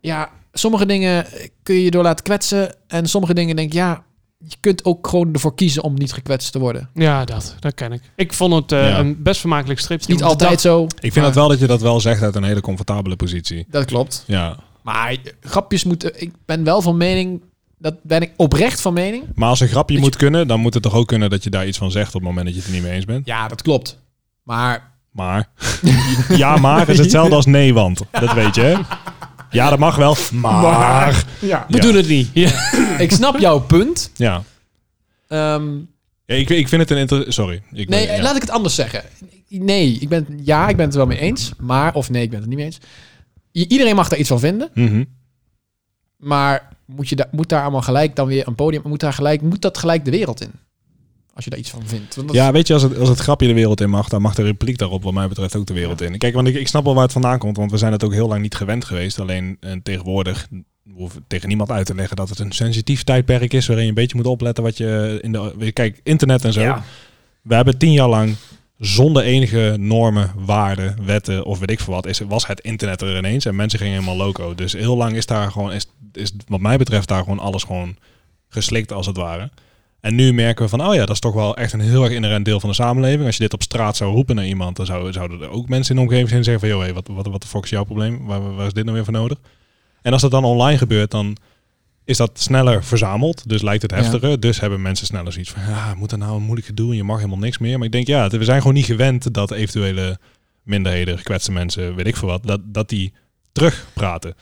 ja, sommige dingen kun je je door laten kwetsen. En sommige dingen denk ik, ja, je kunt ook gewoon ervoor kiezen om niet gekwetst te worden. Ja, dat, dat ken ik. Ik vond het eh, Ja. een best vermakelijk stripje. Niet want ik altijd dacht- zo. Ik vind dat wel dat je dat wel zegt uit een hele comfortabele positie. Dat klopt. Ja. Maar grapjes moeten... Ik ben wel van mening... Dat ben ik oprecht van mening. Maar als een grapje Dat moet kunnen, dan moet het toch ook kunnen dat je daar iets van zegt op het moment dat je het er niet mee eens bent. Ja, dat klopt. Maar... Maar. ja, maar is hetzelfde als nee, want. Dat weet je, hè? Ja, dat mag wel. Maar. Ja. We Ja. doen het niet. Ja. Ik snap jouw punt. Ja. Ehm, Ja, ik, ik vind het een inter... Sorry. Ik nee, ben- ja. laat ik het anders zeggen. Nee, ik ben, ja, ik ben het er wel mee eens. Maar... Of nee, ik ben het er niet mee eens. I- Iedereen mag daar iets van vinden. Mhm. Maar moet, je da moet daar allemaal gelijk dan weer een podium... Moet, daar gelijk, moet dat gelijk de wereld in? Als je daar iets van vindt. Want dat- Ja, weet je, als het, als het grapje de wereld in mag, dan mag de repliek daarop wat mij betreft ook de wereld in. Kijk, want ik, ik snap wel waar het vandaan komt, want we zijn het ook heel lang niet gewend geweest. Alleen eh, tegenwoordig hoef ik tegen niemand uit te leggen dat het een sensitief tijdperk is waarin je een beetje moet opletten wat je in de... Kijk, internet en zo. We hebben tien jaar lang zonder enige normen, waarden, wetten of weet ik veel wat, is, was het internet er ineens en mensen gingen helemaal loco. Dus heel lang is daar gewoon, is, is wat mij betreft daar gewoon alles gewoon geslikt als het ware. En nu merken we van, oh ja, dat is toch wel echt een heel erg inherent deel van de samenleving. Als je dit op straat zou roepen naar iemand, dan zou- zouden er ook mensen in de omgeving zijn die zeggen van, joh, hey, wat, wat, wat de fuck is jouw probleem? Waar, waar is dit nou weer voor nodig? En als dat dan online gebeurt, dan is dat sneller verzameld. Dus lijkt het Ja. heftiger. Dus hebben mensen sneller zoiets van, ja, moet er nou een moeilijk gedoe en je mag helemaal niks meer. Maar ik denk, ja, het- we zijn gewoon niet gewend dat eventuele minderheden, gekwetste mensen, weet ik veel wat, dat, dat die terugpraten.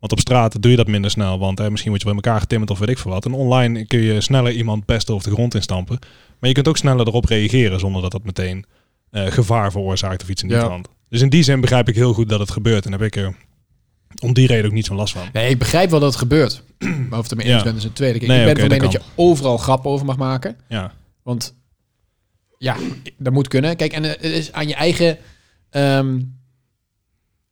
Want op straat doe je dat minder snel, want hè, misschien word je bij elkaar getimmerd of weet ik veel wat. En online kun je sneller iemand pesten of de grond instampen. Maar je kunt ook sneller erop reageren zonder dat dat meteen eh, gevaar veroorzaakt of iets in die Ja. trant. Dus in die zin begrijp ik heel goed dat het gebeurt en heb ik er om die reden ook niet zo'n last van. Nee, ik begrijp wel dat het gebeurt. Maar of het er mee eens Ja. bent, is een tweede keer. Nee, ik ben oké, van mening dat dat je overal grappen over mag maken. Ja, Want ja, dat moet kunnen. Kijk, en eh, het is aan je eigen... ehm,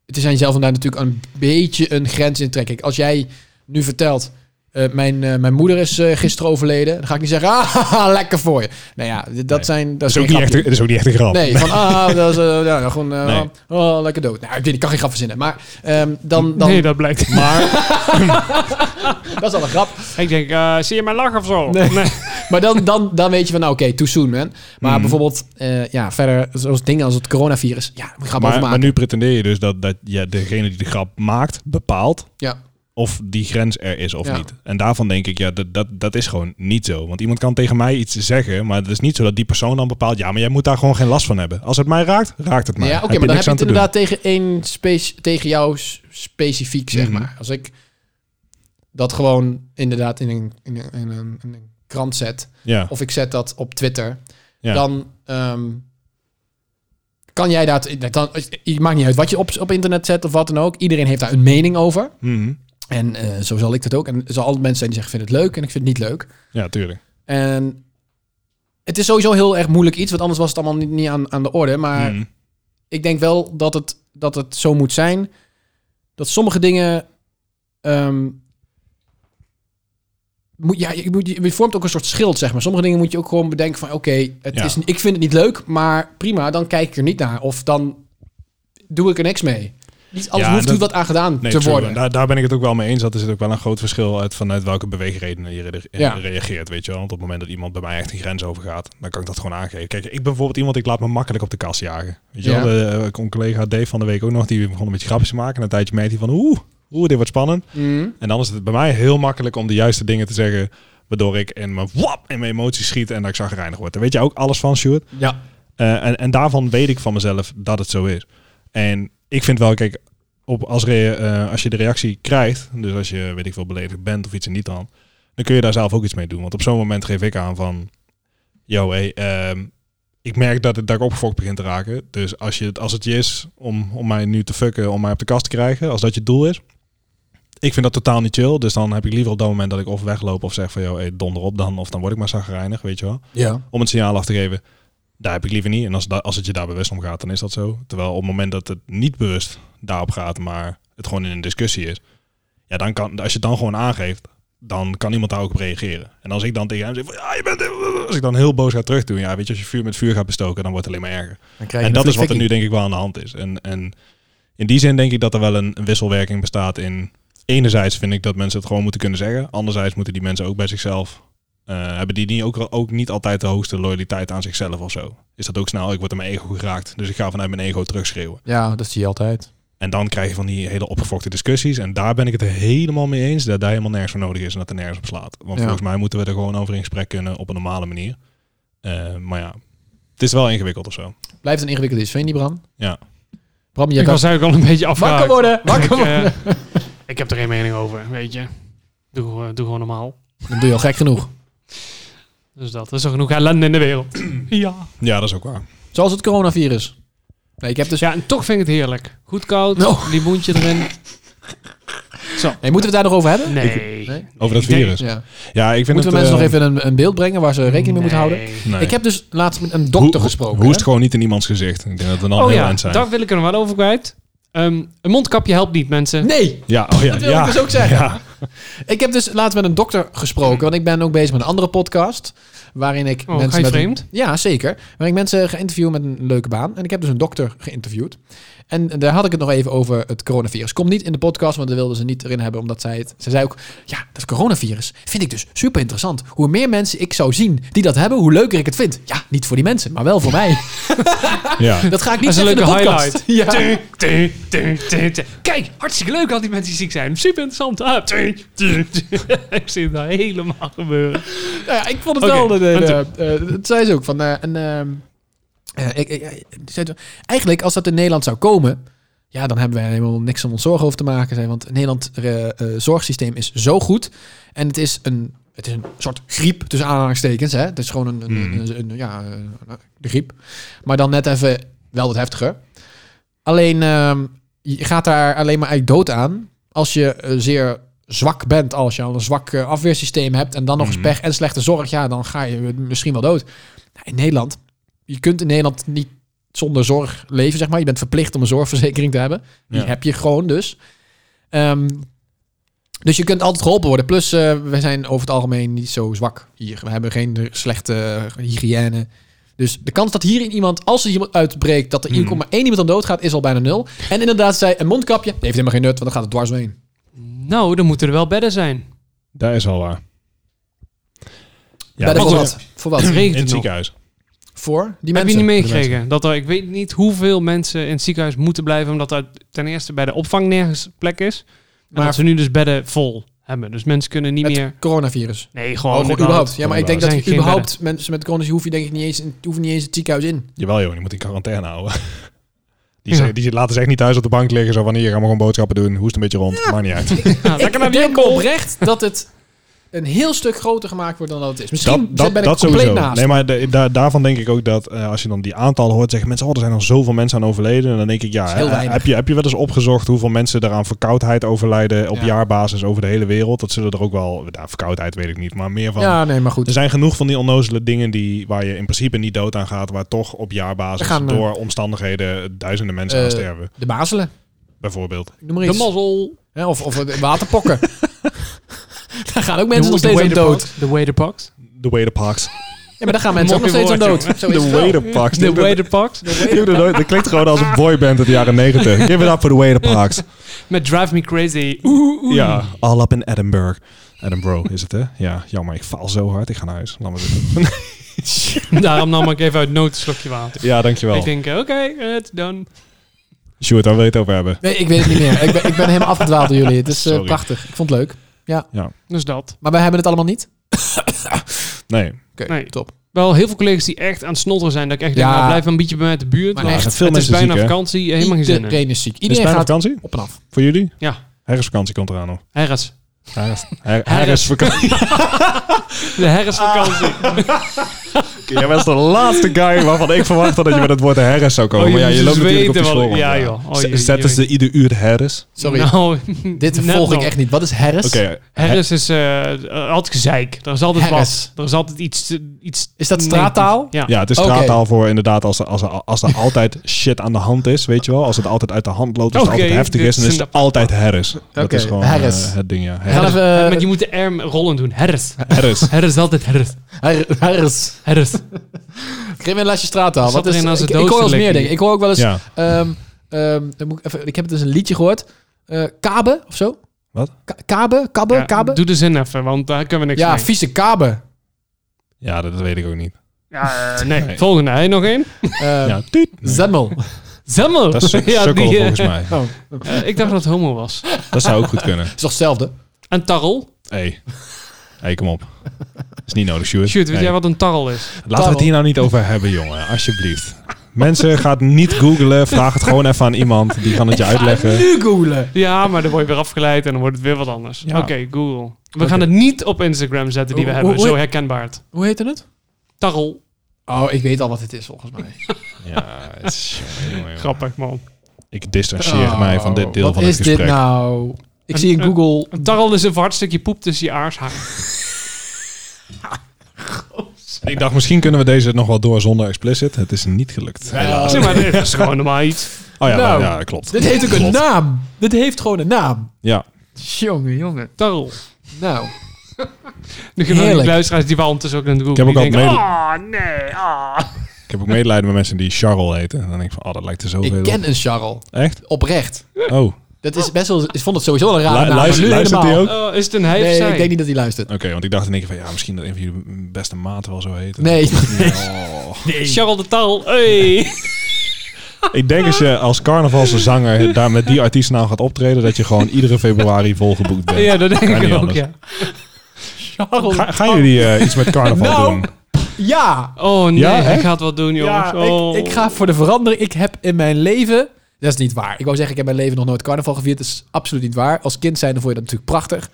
het is aan jezelf om daar natuurlijk een beetje een grens in te trekken. Kijk, als jij nu vertelt... eh, mijn, eh, mijn moeder is eh, gisteren overleden. Dan ga ik niet zeggen, ah, haha, lekker voor je. Nou ja, d- dat Nee. zijn... Dat dat is, is geen ook niet echt, grapje. een- dat is ook niet echt een grap. Nee, van ah, dat is eh, ja, gewoon eh, Nee. oh, lekker dood. Nou, ik weet, ik kan geen grap verzinnen. Maar ehm, dan, dan, Nee, dat blijkt. maar dat is al een grap. ik denk, eh, zie je mijn lach of zo? Nee. Maar dan, dan, dan weet je van, nou oké, too soon, man. Maar Mhm. bijvoorbeeld, eh, ja, verder, zoals dingen als het coronavirus. Ja, daar moet je grap maar, over maar maken. nu pretendeer je dus dat, dat ja, degene die de grap maakt, bepaalt Ja. of die grens er is of Ja. niet. En daarvan denk ik, ja, dat, dat, dat is gewoon niet zo. Want iemand kan tegen mij iets zeggen, maar het is niet zo dat die persoon dan bepaalt, ja, maar jij moet daar gewoon geen last van hebben. Als het mij raakt, raakt het mij. ja, oké, Heb maar dan heb niks je aan het te doen. inderdaad tegen, één spe- tegen jou s- specifiek, zeg Mhm. maar. Als ik dat gewoon inderdaad in een, in een, in een, in een krant zet, Ja, of ik zet dat op Twitter, ja. dan ehm, kan jij dat... Dan, het maakt niet uit wat je op, op internet zet of wat dan ook. Iedereen heeft daar een mening over. Mhm. En eh, zo zal ik dat ook. En er zal altijd mensen zijn die zeggen, ik vind het leuk en ik vind het niet leuk. ja tuurlijk. En het is sowieso heel erg moeilijk iets, want anders was het allemaal niet, niet aan, aan de orde. Maar Mhm. ik denk wel dat het, dat het zo moet zijn dat sommige dingen. ehm, moet, ja, je, moet, je vormt ook een soort schild, zeg maar. Sommige dingen moet je ook gewoon bedenken van... oké, het Ja. is ik vind het niet leuk, maar prima, dan kijk ik er niet naar. Of dan doe ik er niks mee. niet alles Ja, hoeft dat- er wat aan gedaan Nee, te true. worden. Daar, daar ben ik het ook wel mee eens. Dat er zit ook wel een groot verschil uit vanuit welke beweegredenen je re- Ja. reageert. Weet je wel? Want op het moment dat iemand bij mij echt een grens overgaat, dan kan ik dat gewoon aangeven. Kijk, ik ben bijvoorbeeld iemand, ik laat me makkelijk op de kast jagen. Weet je Ja. wel? De, eh, een collega Dave van de week ook nog, die begon een beetje grapjes te maken. En een tijdje merkte hij van, oeh, oeh, dit wordt spannend. Mhm. En dan is het bij mij heel makkelijk om de juiste dingen te zeggen. Waardoor ik in mijn, wap, in mijn emoties schiet en dat ik zagrijnig word. Daar weet je ook alles van, Stuart. Ja. Eh, en, en daarvan weet ik van mezelf dat het zo is. En ik vind wel, kijk, op, als, re- eh, als je de reactie krijgt, dus als je, weet ik veel, beledigd bent of iets en niet dan, dan kun je daar zelf ook iets mee doen. Want op zo'n moment geef ik aan van, yo, hey, ehm, ik merk dat, het, dat ik opgefokt begin te raken. Dus als, je, het- als het je is om, om mij nu te fucken, om mij op de kast te krijgen, als dat je doel is, ik vind dat totaal niet chill. Dus dan heb ik liever op dat moment dat ik of wegloop of zeg van, yo, hey, donder op dan, of dan word ik maar zagrijnig, weet je wel Ja. om het signaal af te geven. Daar heb ik liever niet. En als, da- als het je daar bewust om gaat, dan is dat zo. Terwijl op het moment dat het niet bewust daarop gaat, maar het gewoon in een discussie is. Ja, dan kan, als je het dan gewoon aangeeft, dan kan iemand daar ook op reageren. En als ik dan tegen hem zeg, van, ja, je bent... Als ik dan heel boos ga terug doen, ja, weet je, als je vuur met vuur gaat bestoken, dan wordt het alleen maar erger. Dan krijg je en een dat is wat er flikkie. nu denk ik wel aan de hand is. En, en in die zin denk ik dat er wel een, een wisselwerking bestaat in... Enerzijds vind ik dat mensen het gewoon moeten kunnen zeggen. Anderzijds moeten die mensen ook bij zichzelf... eh, hebben die niet ook, ook niet altijd de hoogste loyaliteit aan zichzelf of zo? Is dat ook snel? Ik word in mijn ego geraakt, dus ik ga vanuit mijn ego terugschreeuwen. Ja, dat zie je altijd. En dan krijg je van die hele opgefokte discussies. En daar ben ik het helemaal mee eens dat daar helemaal nergens voor nodig is en dat er nergens op slaat. Want Ja. volgens mij moeten we er gewoon over in gesprek kunnen op een normale manier. Eh, maar ja, het is wel ingewikkeld of zo. Blijft een ingewikkeld iets, vind je niet, Bram? Ja. Bram, jij ik kan was eigenlijk al een beetje afgehaakt. wakker worden. Wakker Ik, eh, worden. ik heb er geen mening over, weet je. Doe, eh, doe gewoon normaal. Dan doe je al gek genoeg. Dus dat, dat is al genoeg ellende in de wereld. ja. Ja, dat is ook waar. Zoals het coronavirus. Nee, ik heb dus... ja, en toch vind ik het heerlijk. Goed koud, Oh. limoentje erin. Nee, moeten we het daar nog over hebben? Nee. Nee? Over dat Ik denk- virus. Ja. Ja, ik vind Moeten we mensen het, nog eh, even een, een beeld brengen waar ze rekening mee moeten houden? Nee. nee. Ik heb dus laatst met een Hoe- dokter ho- gesproken. Hoest hè? gewoon niet in iemands gezicht. Ik denk dat we dan Oh heel ja, eind zijn. daar wil ik er nog wel over kwijt. Ehm, een mondkapje helpt niet, mensen. Nee, Ja, oh ja, dat wil ja. ik dus ook zeggen. Ja. Ik heb dus laatst met een dokter gesproken, want ik ben ook bezig met een andere podcast. Waarin ik Mhm. Oh, ga je met een- vreemd? ja, zeker. Waarin ik mensen ga interviewen met een leuke baan. En ik heb dus een dokter geïnterviewd. En daar had ik het nog even over het coronavirus. Komt niet in de podcast, want dat wilden ze niet erin hebben. Omdat zij het... Ze zei ook, ja, dat coronavirus vind ik dus super interessant. Hoe meer mensen ik zou zien die dat hebben, hoe leuker ik het vind. Ja, niet voor die mensen, maar wel voor mij. ja. Dat ga ik Dat niet is een zeggen in leuke de podcast. highlight. Tung, tung, tung, tung, tung. Kijk, hartstikke leuk al die mensen die ziek zijn. Super interessant. Ah, tung, tung, tung. Ik zie het nou helemaal gebeuren. Nou ja, ik vond het Oké, wel. eh, en eh, eh, dat zei ze ook. Van, eh, en, ehm, eh, ik, ik- eh, zei ze, eigenlijk, als dat in Nederland zou komen. Ja, dan hebben wij helemaal niks om ons zorgen over te maken. Zei, want het Nederland eh, eh, zorgsysteem is zo goed. En het is een, het is een soort griep, tussen aanhalingstekens. Hè? Het is gewoon een, een, Hmm. een- een- ja, eh, de griep. Maar dan net even wel wat heftiger. Alleen, ehm, je gaat daar alleen maar eigenlijk dood aan. Als je eh, zeer zwak bent, als je al een zwak eh, afweersysteem hebt... en dan nog eens Mhm. pech en slechte zorg... ja, dan ga je misschien wel dood. Nou, in Nederland, je kunt in Nederland niet zonder zorg leven, zeg maar. Je bent verplicht om een zorgverzekering te hebben. Die Ja. heb je gewoon dus. Ehm, dus je kunt altijd geholpen worden. Plus, eh, we zijn over het algemeen niet zo zwak hier. We hebben geen slechte hygiëne. Dus de kans dat hier in iemand, als er iemand uitbreekt, dat er Hmm. maar één iemand aan doodgaat, is al bijna nul. En inderdaad, zei een mondkapje, heeft helemaal geen nut, want dan gaat het dwars doorheen. Nou, dan moeten er wel bedden zijn. Daar is wel waar. Ja, Bij de- dat voor is- wat? Voor wat? in Regent het het nog. ziekenhuis. Voor die Heb je mensen. niet meegekregen? Dat er, ik weet niet hoeveel mensen in het ziekenhuis moeten blijven... omdat er ten eerste bij de opvang nergens plek is. Maar Maar- dat ze nu dus bedden vol hebben. Dus mensen kunnen niet Met meer... coronavirus. Nee, Oh, gewoon gewoon überhaupt. Ja, maar ik denk dat Zijn je geen überhaupt mensen met corona hoef je denk ik niet eens, in- hoef je niet eens het ziekenhuis in. Jawel joh, die moet in quarantaine houden. Die, Ja. zeggen- die laten ze echt niet thuis op de bank liggen. Zo van hier, ga maar gewoon boodschappen doen. Hoest een beetje rond. Maakt niet uit. Ja, lekker naar ik die denk winkel. oprecht dat het een heel stuk groter gemaakt wordt dan dat het is. Misschien Dat, zit- dat, ben ik dat compleet sowieso. naast. Nee, maar de- da- daarvan denk ik ook dat eh, als je dan die aantallen hoort, zeggen mensen, oh, er zijn al zoveel mensen aan overleden. En dan denk ik, ja, is heel eh, weinig. heb, je, heb je wel eens opgezocht hoeveel mensen daaraan verkoudheid overlijden op Ja. jaarbasis over de hele wereld? Dat zullen er ook wel, nou, verkoudheid weet ik niet, maar meer van. ja, nee, maar goed. Er zijn genoeg van die onnozele dingen die, waar je in principe niet dood aan gaat, waar toch op jaarbasis We gaan, eh, door omstandigheden duizenden mensen aan Eh, sterven, De bazelen, bijvoorbeeld. noem maar De iets. mazzel. Hè, of, of de waterpokken. Daar gaan ook mensen nog steeds aan dood. De Waderpox. The way the parks. Ja, maar daar gaan mensen ook nog steeds aan dood. Zo is De het wel. Waderpaks. De Wader Dat klinkt gewoon als een boyband uit de jaren negentig. Give it up for the Waderpaks. Met Drive Me Crazy. Ja, all up in Edinburgh. Edinburgh is het, hè? Ja, jammer. Ik faal zo hard. Ik ga naar huis. Laat me zitten. Daarom nam ik even uit nood een slokje water. Ja, dankjewel. Ik denk, eh, oké, it's done. Sjoerd, daar wil je het over hebben. Nee, ik weet het niet meer. Ik ben, ik ben helemaal afgedwaald door jullie. Het is eh, Sorry. prachtig. Ik vond het leuk. Dus dat. Maar wij hebben het allemaal niet. Nee. Oké, Nee. top. Wel heel veel collega's die echt aan het snotteren zijn. Dat ik echt Ja. denk, nou, blijf een beetje bij mij uit de buurt. Maar want echt, het veel is mensen bijna ziek, hè? vakantie. Helemaal geen zin in. Nou, Iedereen is ziek. Is Iedereen Dus bijna gaat vakantie? op en af. Voor jullie? Ja. Herfstvakantie komt eraan, hoor. Herres. Herfst- her- Herfstvakantie. De herfstvakantie. Jij was de laatste guy waarvan ik verwachtte dat je met het woord herres zou komen. Oh, maar ja, je Jezus, loopt natuurlijk op de weten wel- school. ja, joh. Oh, Z- jee, Zetten jee. ze ieder uur herres? Sorry, Nou, dit net volg ik nog. echt niet. Wat is herres? Oké. Herres is eh, eh, altijd gezeik. Er is altijd Herres. wat. Er is altijd iets... eh, iets Is dat straattaal? Ja. Ja, het is Oké. straattaal voor inderdaad als er, als, er, als er altijd shit aan de hand is, weet je wel. Als het altijd uit de hand loopt, als het Oké, altijd heftig dit is, dan is is een het altijd herres. Dat Oké, is gewoon herres. eh, het ding, ja. We gaan Herres. even... Maar je moet de R rollen doen. Herres. Herres. Herres is altijd herres. her- herres. Herres. Kriminalische straattaal. Zat Wat is, erin als ik, het ik hoor wel eens doodste meer likkie. dingen. Ik hoor ook wel eens... Ja. ehm, ehm, dan moet ik, even, ik heb het dus een liedje gehoord. Eh, kabe of zo? Wat? Ka- kabe? Kabbe? Ja, kabe? Doe de zin even, want daar kunnen we niks ja, mee. vieze kabe. Ja, dat, dat weet ik ook niet. Ja, eh, nee. Nee. Volgende. Hè? Nog één? Eh Ja, tuut. Nee. Zemmel. Zemmel. Dat is suk- Ja, sukkel die, eh, volgens mij. Oh, eh, ik dacht dat het homo was. Dat zou ook goed kunnen. is toch hetzelfde? En tarrel? hey. hey, kom op. Is niet nodig, Sjoerd. Shoot, weet Hey. jij wat een tarrel is? Laten we het hier nou niet over hebben, jongen. Alsjeblieft. Mensen, gaat niet googlen. Vraag het gewoon even aan iemand. Die kan het je uitleggen. Ah, Nu googlen. Ja, maar dan word je weer afgeleid en dan wordt het weer wat anders. Ja. Oké, Google. We gaan het niet op Instagram zetten die we Hoe- hebben. hoe- Zo herkenbaar het. Hoe heette het? Tarrel. Oh, ik weet al wat het is volgens mij. Ja, het is- jongen, jongen, jongen. Grappig, man. Ik distancieer Oh, mij van dit deel wat van het is dit gesprek. nou? Ik zie in een- Google... Een tarrel is een verhard stukje poep tussen je aarsharen. Ik dacht, misschien kunnen we deze nog wel door zonder explicit. Het is niet gelukt. Helaas. Zeg maar, dit is gewoon normaal iets. Oh ja, Nou. ja klopt. Dit heeft ook een Klopt. naam. Dit heeft gewoon een naam. Ja. Jongen, jongen. Tarrel. Nou. Nu gaan Heerlijk. die luisteraars die wel ondertussen ook naar de Google. Ik heb ook die al denken, oh nee, ah. Ik heb ook medelijden met mensen die Charles heten. En dan denk ik van, oh, dat lijkt er zoveel Ik op. ken een Charles. Echt? Oprecht. Oh, oké, Dat is best wel... Ik vond het sowieso wel een Lu- raar naam. maar luister- nu luistert helemaal. hij ook? Oh, is het een hij of Nee, zij? ik denk niet dat hij luistert. want ik dacht in één keer van, ja, misschien dat een van jullie beste maten wel zo heet. Nee. Oh. Charles de Tarrel. Hey. Ik denk als je als carnavalszanger daar met die artiestnaam gaat optreden, dat je gewoon iedere februari volgeboekt bent. Ja, dat denk Kan niet ik ook, anders. ja. Ga, gaan jullie eh, iets met carnaval Nou, doen? Ja. Oh nee, Ja, hij echt? gaat wat doen, jongens. Ja, oh. ik, ik ga voor de verandering. Ik heb in mijn leven... Dat is niet waar. Ik wou zeggen, ik heb in mijn leven nog nooit carnaval gevierd. Dat is absoluut niet waar. Als kind zijnde vond je dat natuurlijk prachtig.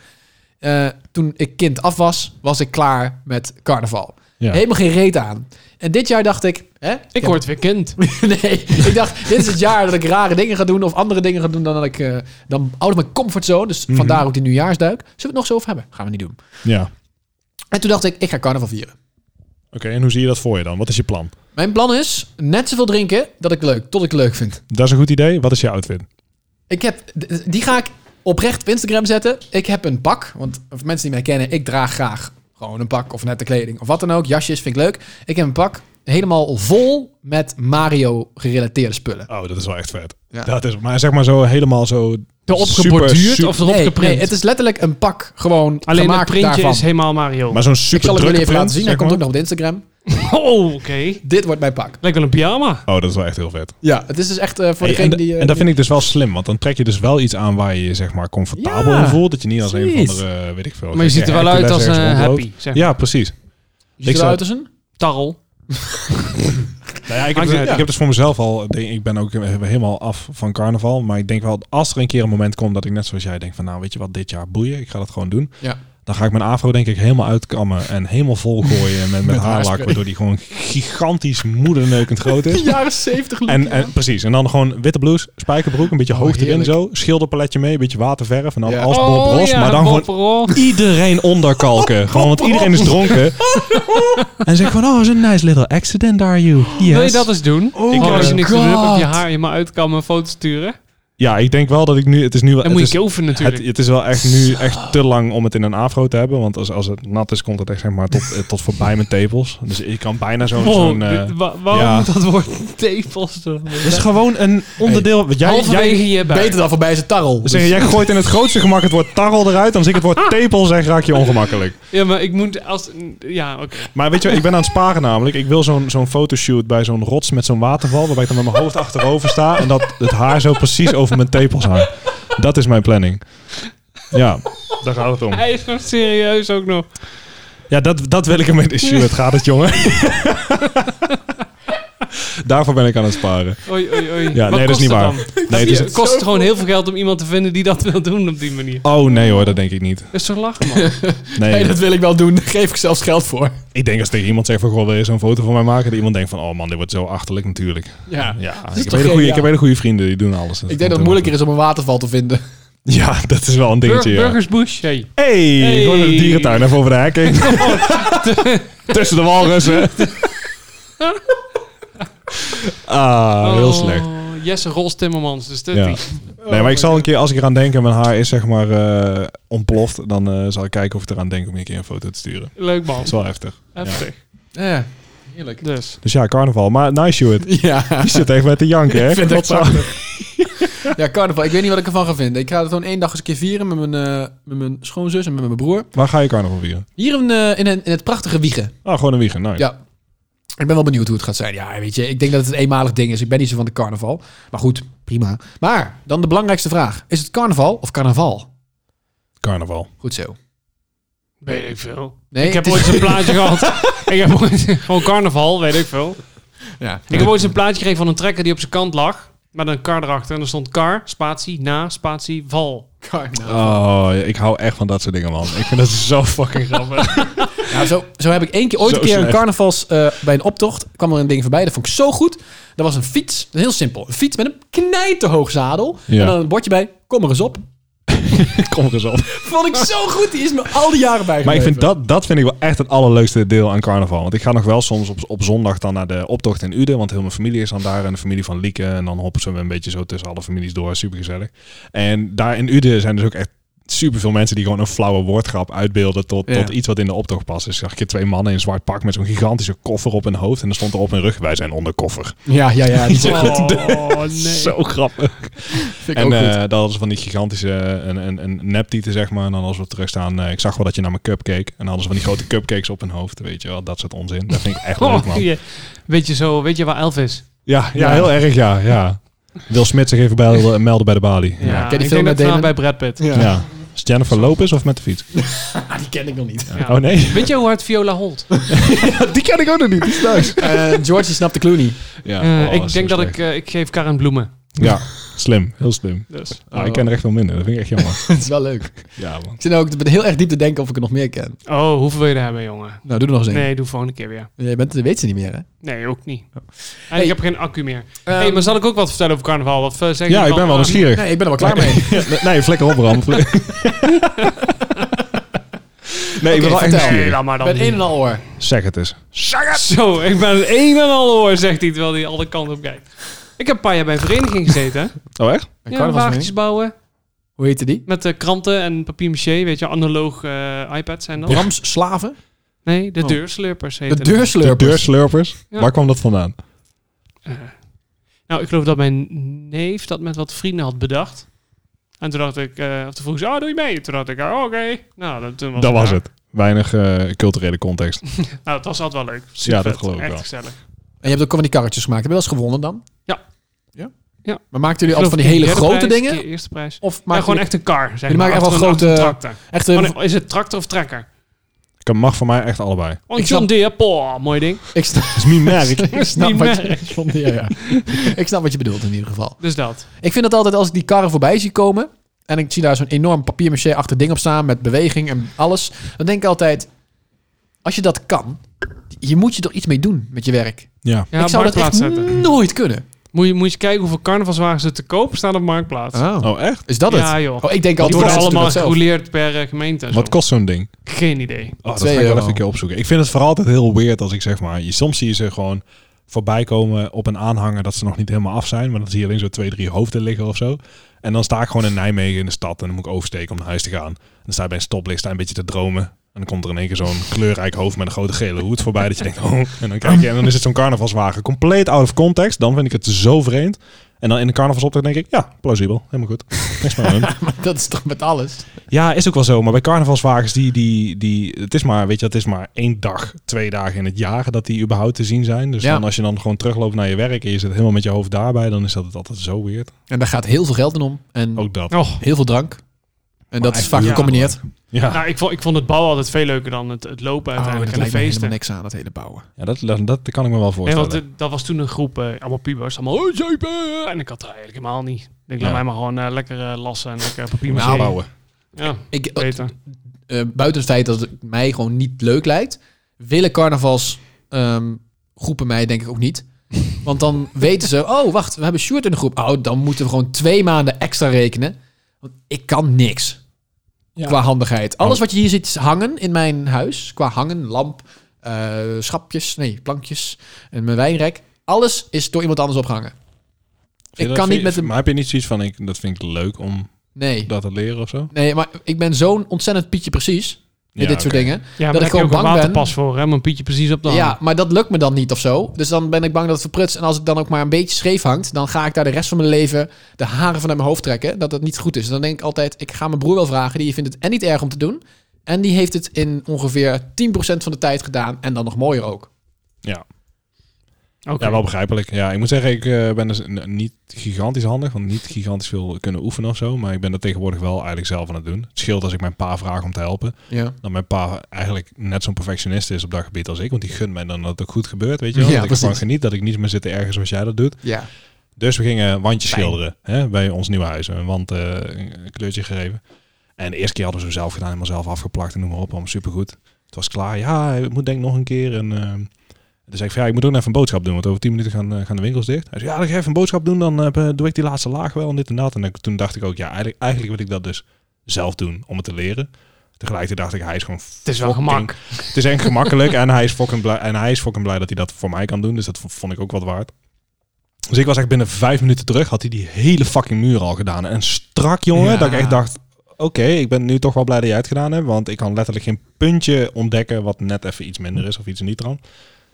Eh, toen ik kind af was, was ik klaar met carnaval. Ja. Helemaal geen reet aan. En dit jaar dacht ik... Hè? Ik word weer kind. Nee, ik dacht, dit is het jaar dat ik rare dingen ga doen of andere dingen ga doen dan dat ik eh, dan out of mijn comfortzone. Dus Mhm. vandaar ook die nieuwjaarsduik. Zullen we het nog zo over hebben? Gaan we niet doen. Ja. En toen dacht ik, ik ga carnaval vieren. Oké, en hoe zie je dat voor je dan? Wat is je plan? Mijn plan is net zoveel drinken dat ik leuk, tot ik leuk vind. Dat is een goed idee. Wat is je outfit? Ik heb, d- die ga ik oprecht op Instagram zetten. Ik heb een pak, want voor mensen die mij kennen, ik draag graag gewoon een pak of nette kleding of wat dan ook. Jasjes vind ik leuk. Ik heb een pak helemaal vol met Mario gerelateerde spullen. Oh, dat is wel echt vet. Ja. Dat is, maar zeg maar zo helemaal zo... Erop super, geborduurd super- of erop nee, geprint. nee, het is letterlijk een pak gewoon Alleen het gemaakt printje daarvan. is helemaal Mario. Maar zo'n super Ik zal het jullie even laten zien. Hij komt ook nog. nog op de Instagram. Oh, oké. Dit wordt mijn pak. Lijkt wel een pyjama. Oh, dat is wel echt heel vet. Ja, het is dus echt eh, voor Hey, en, degene da- die... eh, en dat vind ik dus wel slim, want dan trek je dus wel iets aan waar je je zeg maar comfortabel Ja, in voelt. Dat je niet als een precies. of andere, eh, weet ik veel. Maar je ziet er wel uit als Hercules ergens een eh, rondloopt. happy, zeg maar. Ja, precies. Ziet er ik zou- uit als een... Tarrel. Nou ja, ik, heb, Maakt dus- niet ik heb dus voor mezelf al, ik denk, ik ben ook helemaal af van carnaval. Maar ik denk wel, als er een keer een moment komt dat ik net zoals jij denk van, nou weet je wat, dit jaar boeien, ik ga dat gewoon doen. Ja. Dan ga ik mijn afro denk ik helemaal uitkammen en helemaal vol gooien met, met haarlak. haarspray. Waardoor die gewoon gigantisch moederneukend groot is. Jaren zeventig En, en precies, en dan gewoon witte blouse, spijkerbroek, een beetje hoog erin heerlijk. zo. Schilderpaletje mee, een beetje waterverf en dan Ja. als Oh, Bob Ross, maar dan gewoon iedereen onderkalken. gewoon, want iedereen is dronken. en zeg van, oh, is een nice little accident are you. Yes. Wil je dat eens doen? Oh ik, als je my niks te doen hebt, God. op je haar je maar uitkammen en foto's sturen. Ja, ik denk wel dat ik nu... Het is nu wel, En het moet is, je koven natuurlijk. Het, het is wel echt nu echt te lang om het in een afro te hebben. Want als, als het nat is, komt het echt zeg maar tot, eh, tot voorbij mijn tepels. Dus ik kan bijna zo'n... Wow, zo'n, eh, dit- wa- waarom ja. moet dat woord tepels er- het is gewoon een onderdeel... want Jij, jij, Halverwege je buik. Beter dan voorbij zijn tarrel. Dus- zeg, jij gooit in het grootste gemak het woord tarrel eruit. Dan zie ik het Ah. woord tepel zeg, raak je ongemakkelijk. Ja, maar ik moet als... Ja, oké. Maar weet je, ik ben aan het sparen namelijk. Ik wil zo'n zo'n fotoshoot bij zo'n rots met zo'n waterval. Waarbij ik dan met mijn hoofd achterover sta. En dat het haar zo precies over mijn tepels hangt. Dat is mijn planning. Ja, daar gaat het om. Hij is nog serieus ook nog. Ja, dat, dat wil ik hem met Stuart. Gaat het, jongen? Daarvoor ben ik aan het sparen. Oei, oei, oei. Ja, Wat nee, dat kost is het niet waar. dan? Nee, het Het is kost het gewoon heel veel geld om iemand te vinden die dat wil doen op die manier. Oh nee hoor, dat denk ik niet. Dat is toch lachen, man? Nee, Hey, dat wil ik wel doen. Daar geef ik zelfs geld voor. ik denk als tegen iemand zeg van, goh, wil je zo'n foto van mij maken? Dat iemand denkt van, oh man, dit wordt zo achterlijk natuurlijk. Ja. Ja, is toch ik heb, hele goede, geniaal? ik heb hele goede vrienden, die doen alles. Ik denk dat het moeilijker is om een waterval te vinden. Ja, dat is wel een Bur- dingetje, ja. Burgersbush, hey. Hey, Hey. gewoon een dierentuin even over de hek heen. Tussen de walrussen. ah, heel slecht. Oh, Jesse Rols Timmermans, dus dat Ja. die. Nee, maar ik zal een keer, als ik eraan denk en mijn haar is zeg maar eh, ontploft, dan eh, zal ik kijken of ik eraan denk om je een keer een foto te sturen. Leuk man. Dat is wel heftig. Heftig. Ja, heerlijk. Dus. Dus ja, carnaval. Maar nice, Stuart. Ja. Je zit even met de janken, hè? Ik vind het Godsamme. ja, carnaval. Ik weet niet wat ik ervan ga vinden. Ik ga het gewoon één dag eens een keer vieren met mijn, eh, met mijn schoonzus en met mijn broer. Waar ga je carnaval vieren? Hier in, eh, in, een- in het prachtige Wiegen. Ah, gewoon een wiegen. Nice. Ja. Ik ben wel benieuwd hoe het gaat zijn. Ja, weet je, ik denk dat het een eenmalig ding is. Ik ben niet zo van de carnaval. Maar goed, prima. Maar dan de belangrijkste vraag. Is het carnaval of carnaval? Carnaval. Goed zo. Weet ik veel. Nee, ik heb het ooit is- zo'n plaatje gehad. Ik heb ooit, gewoon carnaval, weet ik veel. Ja. Ik heb ooit zo'n plaatje gekregen van een trekker die op zijn kant lag. Met een kar erachter. En er stond kar, spatie, na, spatie, val. Carnaval. Oh, ik hou echt van dat soort dingen, man. Ik vind dat zo fucking grappig. Ja, Nou, zo, zo heb ik één keer, ooit Zo een keer een slecht. carnavals eh, bij een optocht. kwam er een ding voorbij. Dat vond ik zo goed. Dat was een fiets. Dat is Heel simpel. Een fiets met een knijterhoog zadel. Ja. En dan een bordje bij. Kom er eens op. Kom er eens op. Vond ik zo goed. Die is me al die jaren bijgebleven. Maar ik vind dat, dat vind ik wel echt het allerleukste deel aan carnaval. Want ik ga nog wel soms op, op zondag dan naar de optocht in Uden. Want heel mijn familie is dan daar en de familie van Lieke. En dan hoppen ze een beetje zo tussen alle families door. Supergezellig. En daar in Uden zijn dus ook echt superveel mensen die gewoon een flauwe woordgrap uitbeelden tot, Ja. tot iets wat in de optocht past. Dus zag ik twee mannen in zwart pak met zo'n gigantische koffer op hun hoofd. En dan stond er op hun rug, wij zijn onder koffer. Ja, ja, ja. Die Oh, Oh, nee. Zo grappig. vind ik En ook eh goed. dat hadden ze van die gigantische eh, een, een, een neptieten, zeg maar. En dan als we terugstaan, eh ik zag wel dat je naar mijn cupcake. En dan hadden ze van die grote cupcakes op hun hoofd, weet je wel. Dat soort onzin. Dat vind ik echt leuk, Oh, man. Ja, je- weet je zo, weet je waar Elf is? ja, Ja. heel erg, ja. ja. Wil Smit zich even bij, melden bij de balie. Ja. ken die ik film denk dat met het Damon? bij Brad Pitt. Ja. Is het Jennifer Lopez of met de fiets? Ah, die ken ik nog niet. Ja. Oh nee, Weet je hoe hard Viola holt? die ken ik ook nog niet. Die is thuis. Eh, George, die snapt de clue niet. Ja, Eh, oh, ik zo denk dat slecht. ik, eh, ik geef Karen bloemen. Ja, slim. Heel slim. Dus. Ah, ik ken er echt veel minder. Dat vind ik echt jammer. Het is wel leuk. Ik ja, man. zit nou ook heel erg diep te denken of ik er nog meer ken. Oh, hoeveel wil je er hebben, jongen? Nou, doe er nog eens Nee, doe volgende keer weer. een. Je bent, dat weet ze niet meer, hè? Nee, ook niet. Oh. En Hey. ik heb geen accu meer. hey, maar zal ik ook wat vertellen over carnaval? Wat eh, zeggen Ehm, Ja, jullie ik ben van, wel ah, nieuwsgierig. Nee, ik ben er wel klaar mee. Nee, vlekker op, Bram. Nee, ik ben wel echt vertel. Nee, nieuwsgierig. laat maar Ik dan. ben een en al oor. Zeg het eens. Zo, ik ben het een en al hoor, zegt hij terwijl hij alle kanten op kijkt. Ik heb een paar jaar bij een vereniging gezeten. hè. Oh, echt? Ja, wagentjes bouwen Hoe heette die? met eh, kranten en papier maché, weet je, analoog eh, iPads zijn dat. Brams Slaven? Nee, de Oh. deurslurpers heet De deurslurpers. De deurslurpers. Ja. Waar kwam dat vandaan? Eh. Nou, ik geloof dat mijn neef dat met wat vrienden had bedacht. En toen dacht ik, eh, of toen vroeg ze, oh, doe je mee? Toen dacht ik, oh, oké. Nou, dan, toen was dat was daar. het. Weinig eh, culturele context. Nou, het was altijd wel leuk. Ja, dat Supervet. geloof ik Echt wel. gezellig. En je hebt ook van die karretjes gemaakt. Heb je wel eens gewonnen dan? Ja. ja? Ja. Maar maakten Ik jullie altijd van die geloof hele derde grote prijs, dingen? keer Eerste prijs. Of Maar maak gewoon echt een car. Zeg Jullie maar. maken echt wel Achter een- grote- achter een tractor. echt... Oh, een- nee, is het tractor of trekker? Ik mag voor mij echt allebei. Oh, John Ik snap- Deere, poh, mooi ding. ik, snap, Dat is mijn merk. ik, snap niet wat je, merk. ik snap- ja, ja. ik snap wat je bedoelt in ieder geval. Dus dat. Ik vind het altijd als ik die karren voorbij zie komen... en ik zie daar zo'n enorm papier achter ding op staan... met beweging en alles... dan denk ik altijd... als je dat kan... je moet je er iets mee doen met je werk. Ja. Ja, ik zou dat echt marktplaats zetten. nooit kunnen. Moet je, moet je eens kijken hoeveel carnavalswagens er te koop staan op Marktplaats. Oh, echt? Is dat het? Ja, joh. Oh, ik denk Die altijd... worden mensen doen allemaal dat zelf. gerouleerd per eh, gemeente. en Wat zo. kost zo'n ding? Geen idee. Oh, dat ga Twee ik wel euro. even een keer opzoeken. Ik vind het vooral altijd heel weird als ik zeg maar... Je, soms zie je ze gewoon voorbij komen op een aanhanger dat ze nog niet helemaal af zijn. Maar dan zie je alleen zo twee, drie hoofden liggen of zo. En dan sta ik gewoon in Nijmegen in de stad en dan moet ik oversteken om naar huis te gaan. En dan sta ik bij een stoplicht, sta een beetje te dromen. En dan komt er in één keer zo'n kleurrijk hoofd met een grote gele hoed voorbij. Dat je denkt, oh. En dan kijk je en dan is het zo'n carnavalswagen. Compleet out of context. Dan vind ik het zo vreemd. En dan in de carnavalsoptocht denk ik, ja, plausibel. Helemaal goed. Niks meer aan. Maar dat is toch met alles? Ja, is ook wel zo. Maar bij carnavalswagens, die, die, die, het, is maar, weet je, het is maar één dag, twee dagen in het jaar dat die überhaupt te zien zijn. Dus Ja. dan als je dan gewoon terugloopt naar je werk en je zit helemaal met je hoofd daarbij, dan is dat het altijd zo weird. En daar gaat heel veel geld in om. En Ook dat. Och. heel veel drank. En dat is vaak eigenlijk- ja, gecombineerd. Ja, Nou, ik vond, ik vond het bouwen altijd veel leuker dan het, het lopen uiteindelijk en de feesten. niks aan, Oh, dat hele bouwen. ja dat, dat, dat kan ik me wel Nee, voorstellen. want eh, dat was toen een groep, eh, allemaal pubers, allemaal "Oh, zuipen! En ik had dat eigenlijk helemaal niet. Ik denk, laat Ja. mij maar gewoon eh, lekker eh, lassen en lekker papier Nou, masseren. bouwen. Ja, Ik, beter. eh, buiten het feit dat het mij gewoon niet leuk lijkt, willen carnavalsgroepen groepen mij denk ik ook niet. Want dan weten ze, oh wacht, we hebben Sjoerd in de groep. Oh, dan moeten we gewoon twee maanden extra rekenen. Want ik kan niks qua handigheid. Alles wat je hier ziet hangen in mijn huis, qua hangen, lamp, eh, schapjes, nee, plankjes en mijn wijnrek. Alles is door iemand anders opgehangen. Vind je ik dat- kan vind niet je- met een- Maar heb je niet zoiets van, ik, dat vind ik leuk om Nee, dat te leren of zo? nee maar ik ben zo'n ontzettend Pietje precies in Ja, dit soort oké. dingen. Ja, ik maar daar heb je gewoon ook een bang ben. waterpas voor, hè? om Een pietje precies op de hand. Ja, maar dat lukt me dan niet of zo. Dus dan ben ik bang dat het verprutst. En als het dan ook maar een beetje scheef hangt, dan ga ik daar de rest van mijn leven de haren vanuit mijn hoofd trekken. Dat dat niet goed is. En dan denk ik altijd, ik ga mijn broer wel vragen. Die vindt het en niet erg om te doen. En die heeft het in ongeveer 10% van de tijd gedaan. En dan nog mooier ook. Ja. Oké. Ja, wel begrijpelijk. Ja, ik moet zeggen, ik eh, ben dus n- niet gigantisch handig, want niet gigantisch veel kunnen oefenen of zo. Maar ik ben dat tegenwoordig wel eigenlijk zelf aan het doen. Het scheelt als ik mijn pa vraag om te helpen. Ja, dat Nou, mijn pa eigenlijk net zo'n perfectionist is op dat gebied als ik. Want die gunt mij dan dat het ook goed gebeurt, weet je wel. Ja, dat ik ervan precies. geniet dat ik niet meer zit te ergens zoals jij dat doet. ja. Dus we gingen wandjes schilderen hè, bij ons nieuwe huis. Een wand eh, een kleurtje gegeven. En de eerste keer hadden we zo zelf gedaan, helemaal zelf afgeplakt en noem maar op. Allemaal supergoed. Het was klaar. Ja, ik moet denk ik nog een keer. En eh, toen zei ik van ja, ik moet ook nog even een boodschap doen. Want over 10 minuten gaan, eh, gaan de winkels dicht. Hij zei ja, dan ga ik even een boodschap doen. Dan eh, doe ik die laatste laag wel en dit en dat. En dan- toen dacht ik ook ja, eigenlijk, eigenlijk wil ik dat dus zelf doen om het te leren. Tegelijkertijd dacht ik, hij is gewoon Het is wel fucking- gemak. het is echt gemakkelijk en hij is fucking blij, en hij is fucking blij dat hij dat voor mij kan doen. Dus dat v- vond ik ook wat waard. Dus ik was echt binnen vijf minuten terug, had hij die hele fucking muur al gedaan. En strak, jongen, Ja. dat ik echt dacht... Oké, ik ben nu toch wel blij dat jij het gedaan hebt. Want ik kan letterlijk geen puntje ontdekken wat net even iets minder is of iets niet dan.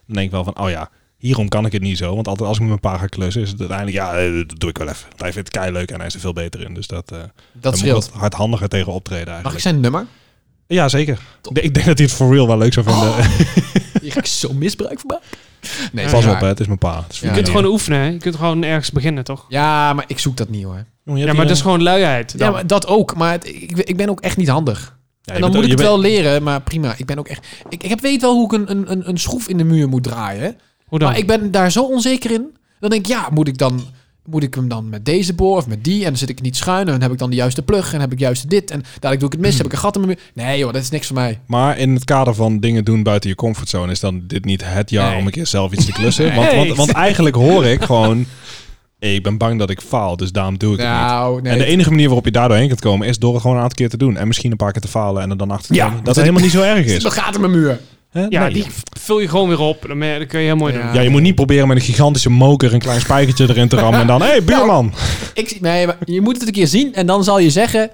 Dan denk ik wel van, oh ja, hierom kan ik het niet zo. Want altijd als ik met mijn pa ga klussen, is het uiteindelijk... Ja, eh, dat doe ik wel even. Want hij vindt het leuk en hij is er veel beter in. Dus dat, eh Dat daar moet ik scheelt. wat hardhandiger tegen optreden Mag ik eigenlijk. zijn nummer? Ja, zeker. Ik denk- Ik denk dat hij het voor real wel leuk zou Oh. vinden. Hier ga ik zo misbruik van maken. Nee, Pas ja. op, hè, het is mijn pa. Het is Ja. Je kunt gewoon oefenen, hè? Je kunt gewoon ergens beginnen, toch? Ja, maar ik zoek dat niet hoor. Ja, maar dus- dat is gewoon luiheid. Ja, Dan. maar dat ook. Maar het- ik, ik ben ook echt niet handig. Ja, En je dan moet bent- ik je het bent- wel leren, maar prima. Ik ben ook echt. Ik, ik heb weet wel hoe ik een, een- een, een schroef in de muur moet draaien. hè. Hoe dan? Maar ik ben daar zo onzeker in. Dan denk ik, ja, moet ik dan. Moet ik hem dan met deze boor of met die? En dan zit ik niet schuin. En dan heb ik dan de juiste plug. En heb ik juist dit. En dadelijk doe ik het Hmm. mis. Heb ik een gat in mijn muur. Nee joh, dat is niks voor mij. Maar in het kader van dingen doen buiten je comfortzone is dan dit niet het jaar Nee. om een keer zelf iets te klussen. Want, want, want eigenlijk hoor ik gewoon, hey, ik ben bang dat ik faal, dus daarom doe ik het niet. Nou, nee. En de enige manier waarop je daardoor heen kunt komen is door het gewoon een aantal keer te doen. En misschien een paar keer te falen en er dan achter te Ja, komen dat want het helemaal niet zo erg Er zit is. nog gaten in mijn muur. Hè? ja, Nee. die vul je gewoon weer op. Dan ben je- dan kun je heel mooi doen. ja, je moet niet proberen met een gigantische moker een klein spijkertje erin te rammen en dan, hé hey, buurman. Ik, zie- nee, maar je moet het een keer zien. En dan zal je zeggen.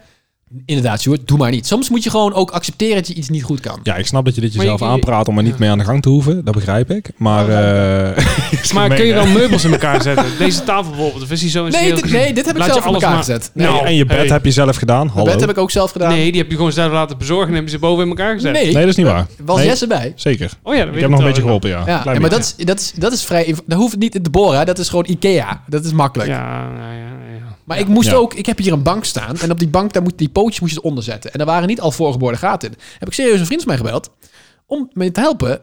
Inderdaad, Sjoerd, doe maar niet. Soms moet je gewoon ook accepteren dat je iets niet goed kan. Ja, ik snap dat je dit Maar jezelf je- Oh, je- aanpraat om er niet mee aan de gang te hoeven. Dat begrijp ik. Maar, eh, is Maar gemeen, kun je hè? dan meubels in elkaar zetten? Deze tafel bijvoorbeeld, of is die zo dus in Nee, zijn dit, geheel- nee, dit heb ik Laat je zelf in alles elkaar maar- gezet. Nee, Nee, Nou, en je bed hey. heb je zelf gedaan. mijn Hallo. bed heb ik ook zelf gedaan. Nee, die heb je gewoon zelf laten bezorgen en hebben ze boven in elkaar gezet. Nee, Nee, dat is niet waar. Eh, was Nee, Jesse bij. Zeker. Oh ja, dat Ik weet heb nog een beetje geholpen, ja. Ja, Klein maar dat beetje. is, dat, is, dat is vrij. Dat hoeft niet in te boren. hè. Dat is gewoon Ikea. Dat is makkelijk. Ja, nou ja, ja. Maar ik moest Ja. ook. Ik heb hier een bank staan. En op die bank, daar moet, die pootjes moest je eronder zetten. En daar waren niet al voorgeboorde gaten in. Heb ik serieus een vriend van mij gebeld. Om me te helpen.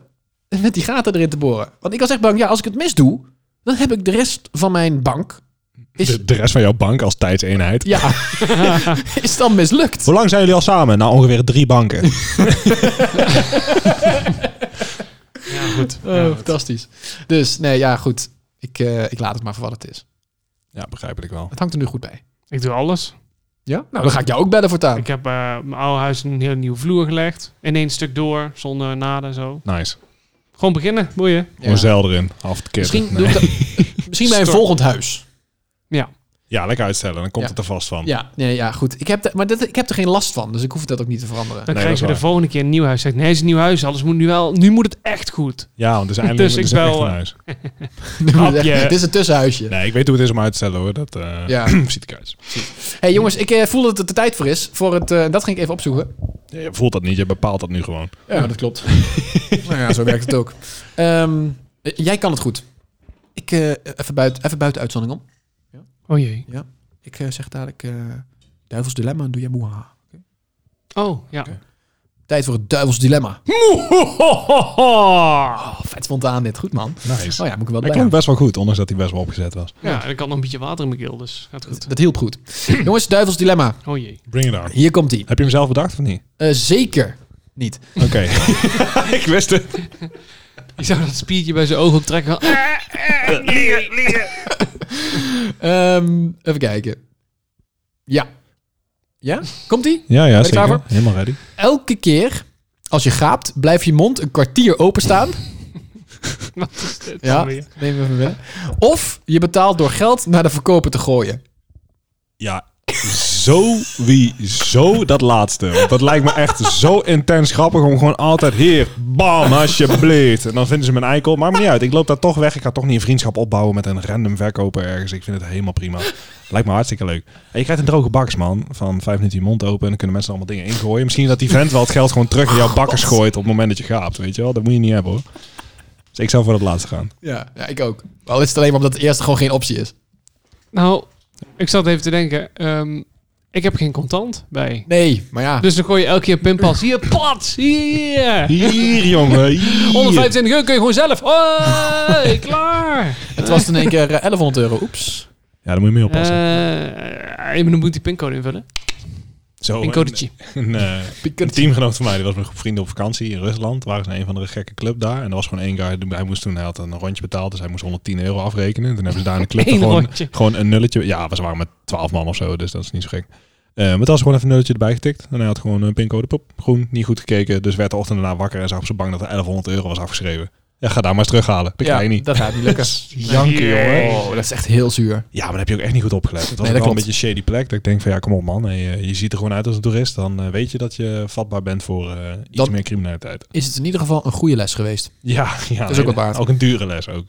Met die gaten erin te boren. Want ik was echt bang. Ja, als ik het mis doe. Dan heb ik de rest van mijn bank. Is, De, de rest van jouw bank als tijdseenheid. ja, is dan mislukt. Hoe lang zijn jullie al samen? Nou, ongeveer drie banken. Ja, goed. Oh, fantastisch. Dus nee, ja, goed. Ik, eh, ik laat het maar voor wat het is. ja, begrijp ik wel. Het hangt er nu goed bij. Ik doe alles. Ja? Nou, dan ga ik jou ook bellen voortaan. Ik heb eh, mijn oude huis een heel nieuwe vloer gelegd. In één stuk door, zonder naden en zo. Nice. Gewoon beginnen, boeien. Gewoon zeil erin, half te kippen. Misschien, doe Nee. ik dat- misschien bij een Stort. volgend huis. Ja. Ja, lekker uitstellen, dan komt Ja. het er vast van. Ja, nee, ja goed. Ik heb, de- maar dat, ik heb er geen last van, dus ik hoef dat ook niet te veranderen. Dan Nee, dat krijg is je de waar. volgende keer een nieuw huis. Zegt, nee, het is een nieuw huis. Alles moet nu wel. Nu moet het echt goed. Ja, want het is eindelijk Dus het is ik echt bel, een eh, huis. Grapje. Dit is een tussenhuisje. Nee, ik weet hoe het is om uit te stellen hoor. Dat eh, Ja. ziet ik uit. hey, jongens, ik eh, voel dat het de tijd voor is. Voor het, eh, dat ging ik even opzoeken. Je voelt dat niet, je bepaalt dat nu gewoon. Ja, dat klopt. nou ja, zo werkt het ook. Ehm, eh, jij kan het goed. Ik, eh, even, buiten, even buiten uitzondering om. Oh jee. Ik eh, zeg dadelijk... eh, Duivels dilemma, doe jij moeha. Oh, ja. Tijd voor het duivels dilemma. Oh, vet spontaan dit. Goed, man. Nice. Oh ja, moet ik wel Hij bij. klonk best wel goed, ondanks dat hij best wel opgezet was. Ja, en ik had nog een beetje water in mijn keel, dus gaat goed. Dat hielp goed. Jongens, duivels dilemma. Oh jee. Bring it on. Hier komt ie. Heb je hem zelf bedacht of niet? Eh, zeker niet. Oké. ik wist het. Je zou dat spiertje bij zijn ogen optrekken. Ah, Ehm, even kijken. Ja. Ja? Komt ie? Ja, ja, je klaar zeker. Helemaal ready. Elke keer als je gaapt, blijft je mond een kwartier openstaan. wat is dit Ja, dan neem weer? even binnen. Of je betaalt door geld naar de verkoper te gooien. Ja, sowieso dat laatste. Want dat lijkt me echt zo intens grappig om gewoon altijd hier, bam, alsjeblieft. En dan vinden ze mijn eikel. Maakt me niet uit, ik loop daar toch weg. Ik ga toch niet een vriendschap opbouwen met een random verkoper ergens. Ik vind het helemaal prima. Lijkt me hartstikke leuk. En je krijgt een droge baks, man. Van vijf minuten je mond open en dan kunnen mensen er allemaal dingen ingooien. Misschien dat die vent wel het geld gewoon terug in jouw bakkers gooit op het moment dat je gaapt, weet je wel. Dat moet je niet hebben, hoor. Dus ik zou voor dat laatste gaan. Ja, ja ik ook. Al is het alleen maar omdat het eerste gewoon geen optie is. Nou, ik zat even te denken. ehm, ik heb geen contant bij. Nee, maar ja. Dus dan gooi je elke keer pinpas. Hier, plat. Hier. Hier, jongen. hier. 125 euro kun je gewoon zelf. Hoi, klaar. Het was in één keer eh, 1100 euro. Oeps. Ja, daar moet je mee oppassen. Oh, Eh, je moet die pincode invullen. zo, Pincodetje. Een, eh, een teamgenoot van mij, die was met een groep vrienden op vakantie in Rusland. Waren ze in een van de gekke club daar. En er was gewoon één guy, die- hij moest toen, hij had een rondje betaald. Dus hij moest 110 euro afrekenen. En toen hebben ze daar in de club Eén gewoon, rondje. gewoon een nulletje. Ja, ze waren met 12 man of zo, dus dat is niet zo gek. Eh, maar het was gewoon even een nulletje erbij getikt. En hij had gewoon een pincode, pop, groen, niet goed gekeken. Dus werd de ochtend daarna wakker en zag op zijn bank dat er 1100 euro was afgeschreven. Ja, ga daar maar eens terughalen. Dat ja, kan je niet. dat gaat niet lukken. Janken, jongen. Oh, dat is echt heel zuur. Ja, maar dan heb je ook echt niet goed opgelet. Het was Nee, ook dat wel een klopt. beetje een shady plek. Dat ik denk van ja, kom op man. Hey, eh, je ziet er gewoon uit als een toerist. Dan eh, weet je dat je vatbaar bent voor eh, iets Dat- meer criminaliteit. Is het in ieder geval een goede les geweest. Ja, ja. Dat is ook wat waard. Ook een dure les ook.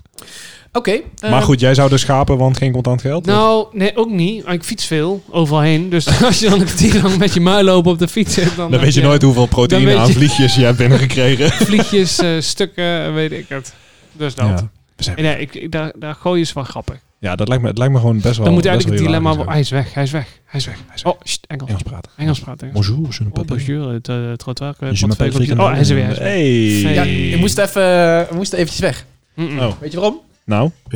Oké. maar eh, goed, jij zou dus schapen, want geen contant geld? of? Nou, nee, ook niet. Ik fiets veel, overal heen. Dus als je dan een kwartier lang met je muil lopen op de fiets zit, dan, dan weet je nooit hoeveel proteïne weet aan je- vliegjes je hebt binnengekregen. Vliegjes, eh, stukken, weet ik het. Dus dat. Ja. We zijn- Nee, nee, ik, ik- daar, daar gooi je is wel grappig. Ja, dat lijkt me, het lijkt me gewoon best wel... dan moet best eigenlijk het wel dilemma... hilarisch hij is weg, hij is weg, hij is weg. zijn. Oh, sst, Engels. Engels praten. Engels praten. Engels. Bonjour, je ne Oh, peux pas. bonjour, het eh, trottoir. eh, Je portefeuille, ne m'appelle Frik en computer. Oh, hij is er weer. hij is er weer. Hey. ja, je moest even, we moesten eventjes weg. Mm-mm. Oh. Weet je waarom? Nou, Ik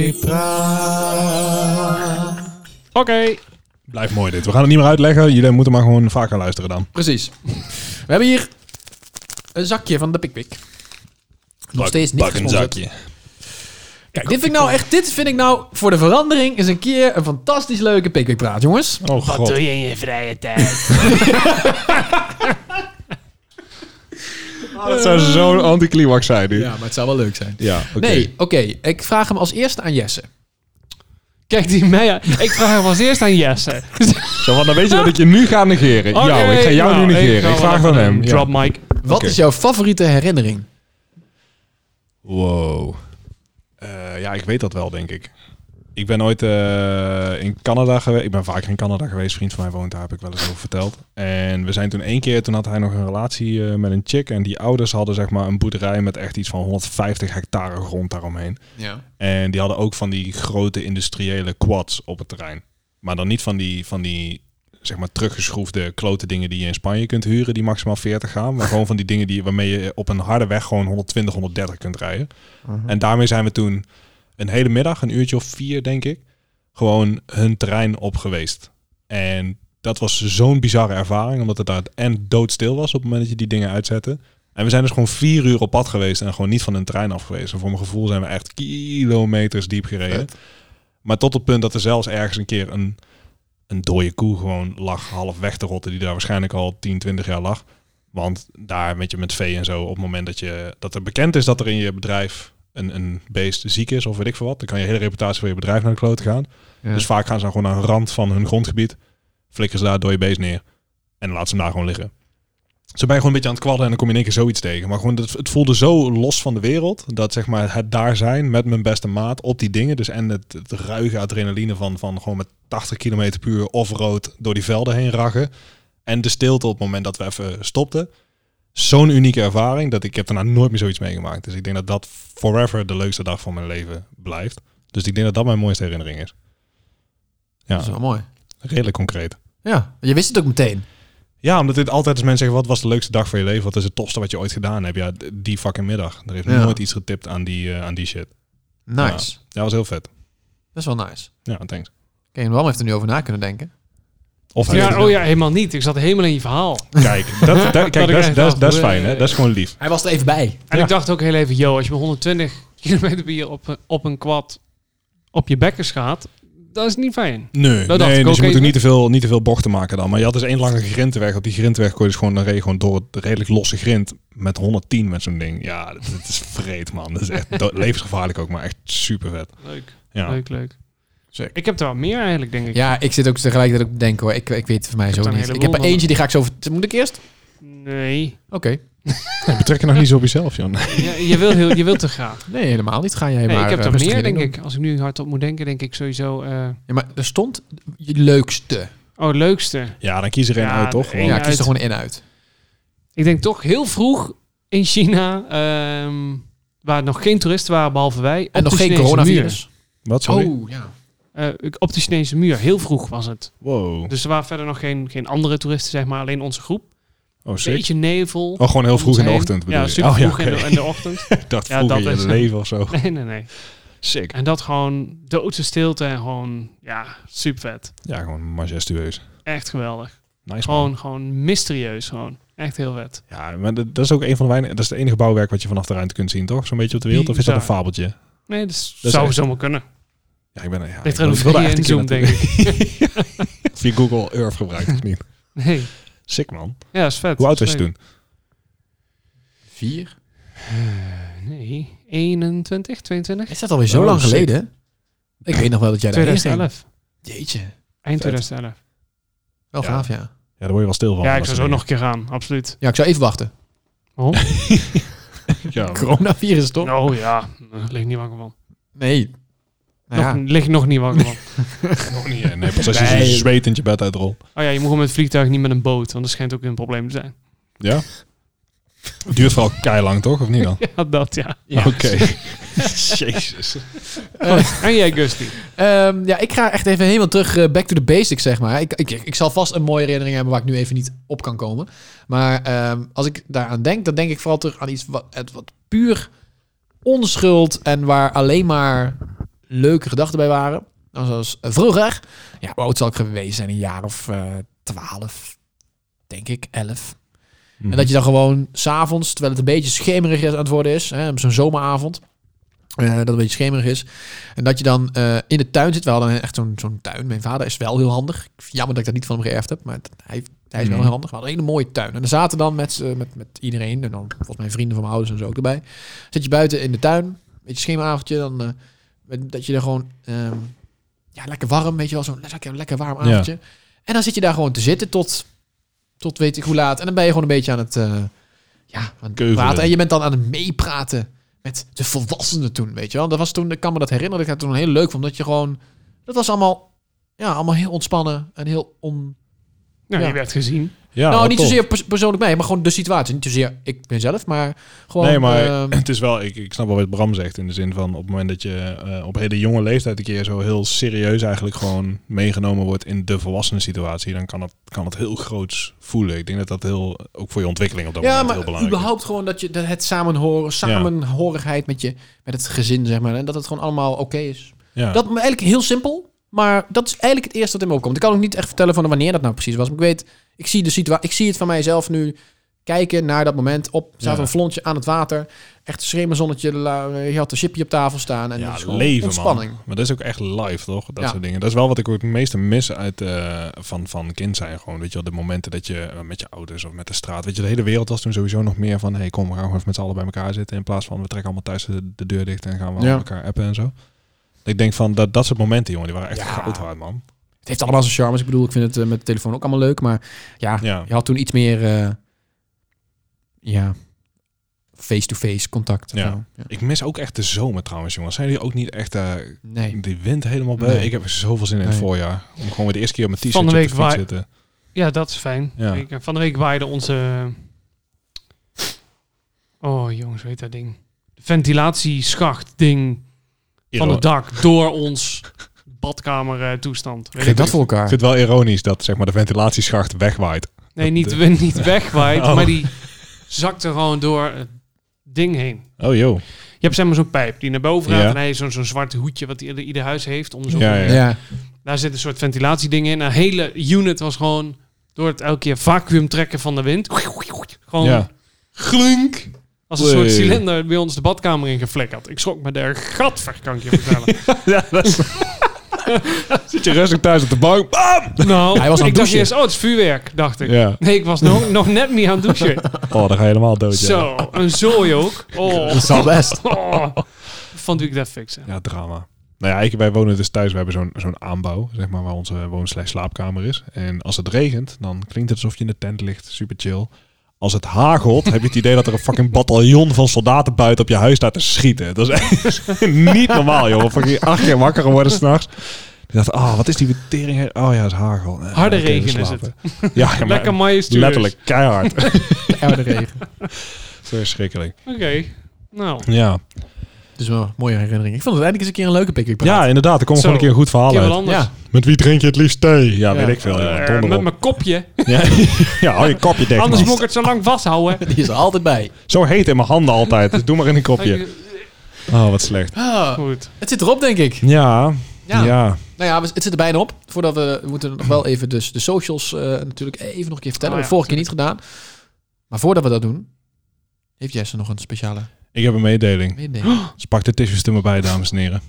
weet- Oké. blijft mooi dit. We gaan het niet meer uitleggen. Jullie moeten maar gewoon vaker luisteren dan. Precies. We hebben hier een zakje van de Pikpik. Nog Pak- steeds niet Pak een gesponsord. zakje. Kijk, dit vind ik nou echt, dit vind ik nou voor de verandering eens een keer een fantastisch leuke Pikpik praat, jongens. Oh god. je in je vrije tijd? Dat zou zo'n anticlimax zijn nu. Ja, maar het zou wel leuk zijn. Ja, oké. Nee, oké. Ik vraag hem als eerste aan Jesse. Kijk die mij aan. Ik vraag hem als eerst aan Jesse. Zo, want dan weet je dat ik je nu ga negeren. Oké, jou, ik ga jou nou, nu negeren. ik ga Ik, wel vraag even dan een hem. Ja. Drop mic. Wat Oké. is jouw favoriete herinnering? Wow. Eh, ja, ik weet dat wel, denk ik. Ik ben ooit eh, in Canada geweest. Ik ben vaker in Canada geweest. Vriend van mij woont daar, heb ik wel eens over verteld. En we zijn toen één keer, toen had hij nog een relatie eh, met een chick. En die ouders hadden zeg maar een boerderij met echt iets van 150 hectare grond daaromheen. Ja. En die hadden ook van die grote industriële quads op het terrein. Maar dan niet van die, van die zeg maar, teruggeschroefde klote dingen die je in Spanje kunt huren, die maximaal 40 gaan. Maar gewoon van die dingen die, waarmee je op een harde weg gewoon 120, 130 kunt rijden. En daarmee zijn we toen een hele middag, een uurtje of vier denk ik, gewoon hun terrein op geweest. En dat was zo'n bizarre ervaring, omdat het daar en doodstil was op het moment dat je die dingen uitzette. En we zijn dus gewoon vier uur op pad geweest en gewoon niet van hun terrein af geweest. En voor mijn gevoel zijn we echt kilometers diep gereden. Maar tot het punt dat er zelfs ergens een keer een, een dode koe gewoon lag half weg te rotten. Die daar waarschijnlijk al 10, 20 jaar lag. Want daar met je met vee en zo, op het moment dat, je, dat er bekend is dat er in je bedrijf een, een beest ziek is of weet ik veel wat, dan kan je hele reputatie van je bedrijf naar de klote gaan. Ja. Dus vaak gaan ze dan gewoon naar een rand van hun grondgebied, flikken ze daar door je beest neer en laten ze hem daar gewoon liggen. Ze ben je gewoon een beetje aan het kwadden en dan kom je in één keer zoiets tegen. Maar gewoon, het, het voelde zo los van de wereld. Dat zeg maar het daar zijn met mijn beste maat op die dingen. Dus en het, het ruige adrenaline van, van gewoon met 80 km puur off-road door die velden heen raggen. En de stilte op het moment dat we even stopten. Zo'n unieke ervaring dat ik ik heb daarna nooit meer zoiets meegemaakt. Dus ik denk dat dat forever de leukste dag van mijn leven blijft. Dus ik denk dat dat mijn mooiste herinnering is. Ja, Dat is wel mooi. redelijk concreet. Ja, je wist het ook meteen. Ja, omdat dit altijd als mensen zeggen, wat was de leukste dag van je leven? Wat is het tofste wat je ooit gedaan hebt? Ja, d- die fucking middag. Er heeft Ja. nooit iets getipt aan die, eh, aan die shit. Nice. Ja, dat was heel vet. Best wel nice. Ja, thanks. Ken Wam heeft er nu over na kunnen denken. Of hij Ja, heeft- oh ja, helemaal niet. Ik zat helemaal in je verhaal. Kijk, dat, dat, kijk, dat, ik is- echt dat, is- dacht, dat is eh, fijn, hè? Dat is gewoon lief. Hij was er even bij. En Ja. ik dacht ook heel even, yo, als je met 120 km per uur op, op een quad op je bekkers gaat, dat is niet fijn. Nee, dacht nee ik ook dus je moet ook even. niet te, veel, niet te veel bochten maken dan. Maar je had dus één lange grindweg. Op die grindweg kon je dus gewoon, dan reed je gewoon door het redelijk losse grind met 110 met zo'n ding. Ja, dat, dat is vreed, man. Dat is echt do- levensgevaarlijk ook, maar echt super vet. Leuk, Ja. leuk, leuk. Zeker. Ik heb er wel meer eigenlijk, denk ik. Ja, ik zit ook tegelijkertijd ook te denken hoor. Ik, ik weet het voor mij heb zo er een niet. Ik heleboel heb er van. eentje, die ga ik zo... ver- Moet ik eerst? Nee. Oké. Ja, betrek je nog niet zo op jezelf, Jan. Je, je, wil heel, je wilt er graag. Nee, helemaal niet. Ga jij Nee, maar... ik heb eh, er rustig meer, je ding denk doen. ik. Als ik nu hardop moet denken, denk ik sowieso... eh, Ja, maar er stond je leukste. oh, het leukste. Ja, dan kies er één Ja, uit, toch? één Gewoon. ja, uit. kies er gewoon in uit. Ik denk toch heel vroeg in China, ehm, waar nog geen toeristen waren behalve wij. En op nog de geen Chinese coronavirus. Wat, sorry? Oh, ja. muur. Eh, op de Chinese muur, heel vroeg was het. Wow. Dus er waren verder nog geen, geen andere toeristen, zeg maar. Alleen onze groep. Oh, Een sick. beetje nevel. Oh, gewoon heel vroeg in de Heen. ochtend bedoel Ja, je? super oh, vroeg oké. in, de, in de ochtend. Ik dacht Ja, vroeg dat in is- je leven of zo. nee, nee, nee. Sick. En dat gewoon doodse stilte en gewoon, ja, super vet. Ja, gewoon majestueus. Echt geweldig. Nice man. Gewoon, gewoon mysterieus gewoon. Echt heel vet. Ja, maar dat dat is ook een van de weinige... Dat is het enige bouwwerk wat je vanaf de ruimte kunt zien, toch? Zo'n beetje op de wereld? Of is dat een Bizar. fabeltje? Nee, dus is zou echt- zomaar kunnen. Ja, ik ben er. Ja, Ligt ik er een wilde vrije echt een keer inzoom, denk naartoe. ik. Of je Google Earth gebruikt of niet. Nee. Sick man. Ja, is vet. Hoe oud was je Leuk. toen? Vier? Nee, 21, 22? Is dat alweer zo Oh, lang sick. geleden? Ik weet nog wel dat jij daar eerst ging. 2011. Jeetje. Eind Vet. 2011. Wel Ja. gaaf, ja. Ja, daar word je wel stil van. Ja, ik Dat zou soort zo nog dingen. een keer gaan, absoluut. Ja, ik zou even wachten. Ja. Coronavirus, toch? Oh ja, daar lig ik niet wakker van. Nee. Nou ja. Nog, lig ik nog niet wakker van. Nog niet. hè. Nee, pas als je Nee. zo zwetend je bed uitrolt. Oh ja, je moet gewoon met het vliegtuig, niet met een boot, want dat schijnt ook een probleem te zijn. Ja? Het duurt vooral keilang, toch? Of niet dan? Ja, dat ja. Oké. Jezus. En jij, Gusty? Ehm, ja, ik ga echt even helemaal terug eh, back to the basics, zeg maar. Ik, ik, ik zal vast een mooie herinnering hebben waar ik nu even niet op kan komen. Maar ehm, als ik daaraan denk, dan denk ik vooral terug aan iets wat, het, wat puur onschuld en waar alleen maar leuke gedachten bij waren. Nou, Zoals eh, vroeger. Ja, hoe oud zal ik geweest zijn? Een jaar of eh, twaalf, denk ik, elf. Mhm. En dat je dan gewoon s'avonds, terwijl het een beetje schemerig is aan het worden is, hè, zo'n zomeravond, eh, dat het een beetje schemerig is, en dat je dan eh, in de tuin zit. We hadden echt zo'n zo'n tuin. Mijn vader is wel heel handig. Jammer dat ik dat niet van hem geërfd heb, maar dat- hij, hij is wel Mhm. heel handig. We hadden een hele mooie tuin. En dan zaten dan met, z'n- met, met iedereen, en dan volgens mijn vrienden van mijn ouders en zo ook erbij, zit je buiten in de tuin, beetje schemeravondje, dan eh, met- dat je er gewoon ehm, ja, lekker warm, weet je wel, zo'n lekker, lekker warm Ja. avondje. En dan zit je daar gewoon te zitten tot, tot weet ik hoe laat. En dan ben je gewoon een beetje aan het, eh, ja, aan het Keuvelen. praten. En je bent dan aan het meepraten met de volwassenen toen, weet je wel. Dat was toen, ik kan me dat herinneren, dat ik dat toen heel leuk vond. Dat je gewoon, dat was allemaal, ja, allemaal heel ontspannen en heel on... Nou, Ja. je werd gezien. Ja, nou, wat niet tof. zozeer pers- persoonlijk mij, maar gewoon de situatie. Niet zozeer ik ben zelf, maar gewoon... nee, maar ehm, het is wel, ik, ik snap wel wat Bram zegt. In de zin van op het moment dat je eh, op hele jonge leeftijd een keer zo heel serieus eigenlijk gewoon meegenomen wordt in de volwassenen situatie, dan kan het, kan het heel groots voelen. Ik denk dat dat heel, ook voor je ontwikkeling op dat ja, moment maar heel belangrijk is. überhaupt gewoon dat je dat het samenhoren, samenhorigheid met je, met het gezin, zeg maar. En dat het gewoon allemaal oké is. Ja. Dat maar eigenlijk heel simpel, maar dat is eigenlijk het eerste dat in me opkomt. Ik kan ook niet echt vertellen van wanneer dat nou precies was. Maar ik weet, ik zie, de situa ik zie het van mijzelf nu kijken naar dat moment op. Er staat Ja. een flontje aan het water. Echt een schemerzonnetje. la- Je had een chipje op tafel staan. En dat ja, is gewoon leven ontspanning. man. Maar dat is ook echt live, toch? Dat Ja. soort dingen. Dat is wel wat ik ook het meeste mis uit eh, van, van kind zijn. Gewoon, weet je wel, de momenten dat je eh, met je ouders of met de straat. Weet je, de hele wereld was toen sowieso nog meer van. hey, kom, we gaan gewoon even met z'n allen bij elkaar zitten. In plaats van we trekken allemaal thuis de, de deur dicht en gaan we Ja. aan elkaar appen en zo. Ik denk van dat, dat soort momenten, jongen, die waren echt Ja. goud waard, man. Het heeft allemaal zijn charmes. Ik bedoel, ik vind het eh, met de telefoon ook allemaal leuk. Maar Ah, ja, Ja. je had toen iets meer... eh, ja, face-to-face contact. of Ja. zo. Ja. Ik mis ook echt de zomer trouwens, jongens. Zijn jullie ook niet echt eh, Nee. die wind helemaal bij? Nee. Ik heb er zoveel zin in het Nee. voorjaar. Om gewoon weer de eerste keer op mijn t-shirt Van op de de week fiets waar- zitten. Ja, dat is fijn. Ja. Ik, eh, van de week waaide onze... Oh jongens, weet dat ding? De ventilatieschacht ding van het dak door ons badkamer eh, toestand. Weet Geef ik- dat voor elkaar. Ik vind het wel ironisch dat zeg maar, de ventilatieschacht wegwaait. Nee, niet, de- we- niet wegwaait, Oh. maar die zakte gewoon door het ding heen. Oh joh. Je hebt zeg maar zo'n pijp die naar boven gaat Ja. en hij heeft zo'n zo'n zwart hoedje wat ieder, ieder huis heeft. Om zo'n- Ja, ja. Ja. Ja. Daar zit een soort ventilatieding in. Een hele unit was gewoon door het elke keer vacuüm trekken van de wind. Gewoon Ja. glunk. Als een Wee. soort cilinder bij ons de badkamer in geflikkerd. Ik schrok me daar gatver, kan ik je vertellen. Zit je rustig thuis op de bank? Ah! Bam! nou, hij was aan ik dacht het douchen. eerst, oh, het is vuurwerk, dacht ik. Ja. Nee, ik was nog, nog net niet aan het douchen. Oh, dan ga je helemaal dood. ja. Zo, een zooi ook. Oh. Dat is al best. Oh. Van doe ik dat fixen. Ja, drama. Nou ja, ik, wij wonen dus thuis. We hebben zo'n zo'n aanbouw, zeg maar, waar onze woon slash slaapkamer is. En als het regent, dan klinkt het alsof je in de tent ligt. Super chill. Als het hagelt, heb je het idee dat er een fucking bataljon van soldaten buiten op je huis staat te schieten. Dat is echt niet normaal, jongen. Fucking acht keer wakker worden s'nachts. Ik dacht, ah, wat is die tering? Oh ja, het is hagel. Eh, Harde oké, we regen is slapen. Ja, ja, maar Lekker majestueus. letterlijk keihard. Oude regen. Verschrikkelijk. Oké. Nou, Ja. Dus wel een mooie herinnering. Ik vond het eindelijk eens een keer een leuke pick-up. ja, inderdaad. Er komt Zo. gewoon een keer een goed verhaal keer wat uit. anders. Ja. Met wie drink je het liefst thee? Ja, Ja. weet ik veel. Ja, Eh, donder met op. mijn kopje. Ja, ja hou je kopje dicht. Anders man. moet ik het zo lang vasthouden. Die is er altijd bij. Zo heet in mijn handen altijd. Dus doe maar in een kopje. Oh, wat slecht. Ah, Goed. het zit erop, denk ik. Ja, Ja. ja. Nou ja, we- het zit er bijna op. Voordat we, we moeten nog wel even dus de socials eh, natuurlijk even nog een keer vertellen. Oh we ja, vorige keer niet gedaan. Maar voordat we dat doen, heeft Jesse nog een speciale Ik heb een mededeling. mededeling. Dus pak de tissues er maar bij, dames en heren.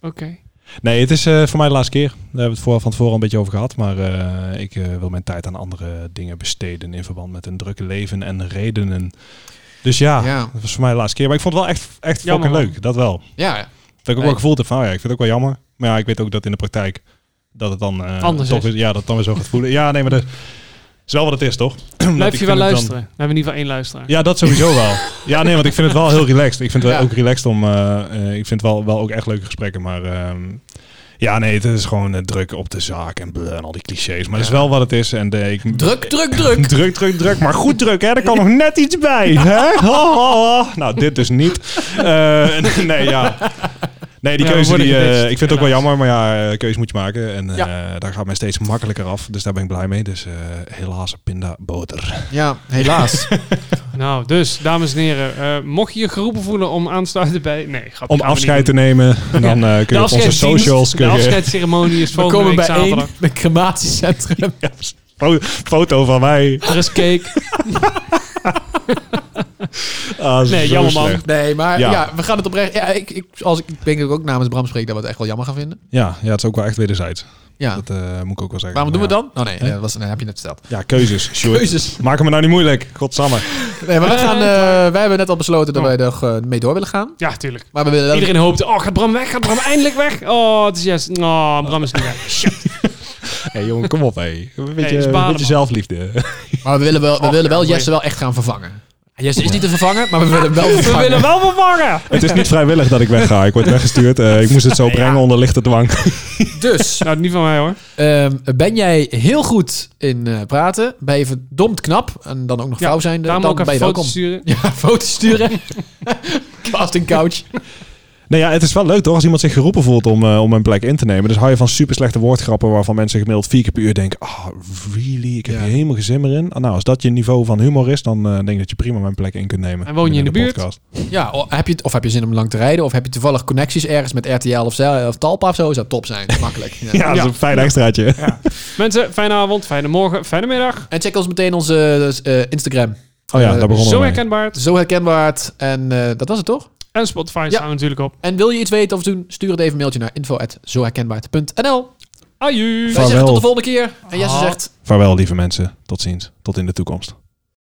Oké. Nee, het is eh, voor mij de laatste keer. Daar hebben we het voor, van tevoren een beetje over gehad. Maar eh, ik eh, wil mijn tijd aan andere dingen besteden in verband met een drukke leven en redenen. Dus ja, Ja. dat was voor mij de laatste keer. Maar ik vond het wel echt, echt Jammer, fucking leuk. Dat wel. Ja, Dat ik ook Hey. wel gevoeld heb van, oh ja, ik vind het ook wel jammer. Maar ja, ik weet ook dat in de praktijk dat het dan... eh, Anders toch is. weer- Ja, dat het dan weer zo gaat voelen. Ja, nee, maar dat is wel wat het is, toch? Dat ik Blijf je wel vind het dan- luisteren. Dan... hebben we in ieder geval één luisteraar. ja, dat sowieso wel. Ja, nee, want ik vind het wel heel relaxed. Ik vind het Ja. wel ook relaxed om... eh, eh, ik vind het wel, wel ook echt leuke gesprekken, maar... ehm, ja, nee, het is gewoon eh, druk op de zaak en, bleh, en al die clichés. Maar het is wel wat het is. En eh, ik, Druk, druk, druk. Druk, druk, druk. Maar goed druk, hè? Er kan nog net iets bij. Hè? Ho, ho, ho. Nou, dit dus niet. Eh, nee, ja. Nee, die Ja, we keuze worden die, eh, gedicht, ik vind het ook wel helaas. jammer, maar ja, eh, keuze moet je maken. En eh, daar gaat mij steeds makkelijker af, dus daar ben ik blij mee. Dus eh, helaas, pinda boter. ja helaas. Nou, dus, dames en heren. eh, mocht je je geroepen voelen om aansluiten bij... Nee, grapje. Om gaan we afscheid niet te doen. nemen, dan eh, kun je op onze afscheidsdienst, socials... Kun De je, afscheidsceremonie is we volgende komen week bij één zaterdag. met crematiecentrum. Ja, fo- foto van mij. Er is cake. Ah, Nee, zo jammer, man. slecht. Nee, maar ja. Ja. we gaan het oprecht. Ja, ik, ik, als ik, ik denk dat ik ook namens Bram spreek dat we het echt wel jammer gaan vinden. Ja, ja, het is ook wel echt wederzijds. Ja. Dat eh, moet ik ook wel zeggen. Waarom doen we Maar het dan? Oh nee, dat was, nee, heb je net verteld. Ja, Ja, keuzes. Sjoerd. Keuzes. Maak hem nou niet moeilijk. Godsamme. Nee, maar we gaan, eh, wij hebben net al besloten dat wij er eh, mee door willen gaan. Ja, tuurlijk. Maar we willen Iedereen hoopt, oh, gaat Bram weg? Gaat Bram eindelijk weg? Oh, het is yes. Oh, Bram is niet weg. Shit. Hé jongen, kom op hé. Een Hey, beetje, is een balen, beetje man. zelfliefde. Maar we willen wel, we Och, willen wel ja, Jesse wel echt gaan vervangen. Ah, Jesse is niet te vervangen, maar we willen hem wel We vervangen. willen wel vervangen. het is niet vrijwillig dat ik wegga. Ik word weggestuurd. Eh, ik moest het zo brengen onder lichte dwang. Dus, Nou, niet van mij hoor. ehm, ben jij heel goed in eh, praten? Ben je verdomd knap? En dan ook nog Ja, vrouw zijn, dan Daarom ook ben even je welkom. foto's sturen. Ja, foto's sturen. Casting couch. Nee, Nou ja, het is wel leuk toch als iemand zich geroepen voelt om, eh, om een plek in te nemen. Dus hou je van super slechte woordgrappen waarvan mensen gemiddeld vier keer per uur denken... Ah, really? Ik heb Ja. hier helemaal geen zin meer in. Ah, nou, als dat je niveau van humor is, dan eh, denk ik dat je prima mijn plek in kunt nemen. En woon je in de buurt? podcast. Ja, o- heb je, het- of heb je zin om lang te rijden? Of heb je toevallig connecties ergens met RTL of, Zel- of Talpa of zo? Zou top zijn, makkelijk. Ja. Ja, dat is Ja. een fijn extraatje. Mensen, fijne avond, fijne morgen, fijne middag. En check ons meteen onze eh, eh, Instagram. Oh ja, Eh, daar Zo begonnen we mee. herkenbaar. het. Zo herkenbaar. het. En eh, dat was het toch? En Spotify staan we natuurlijk op. En wil je iets weten of doen? Stuur het even een mailtje naar info@zoherkenbaar.nl. Aju! Wij zeggen Vaarwel. tot de volgende keer. En Jesse Ah. zegt Vaarwel, lieve mensen. Tot ziens. Tot in de toekomst.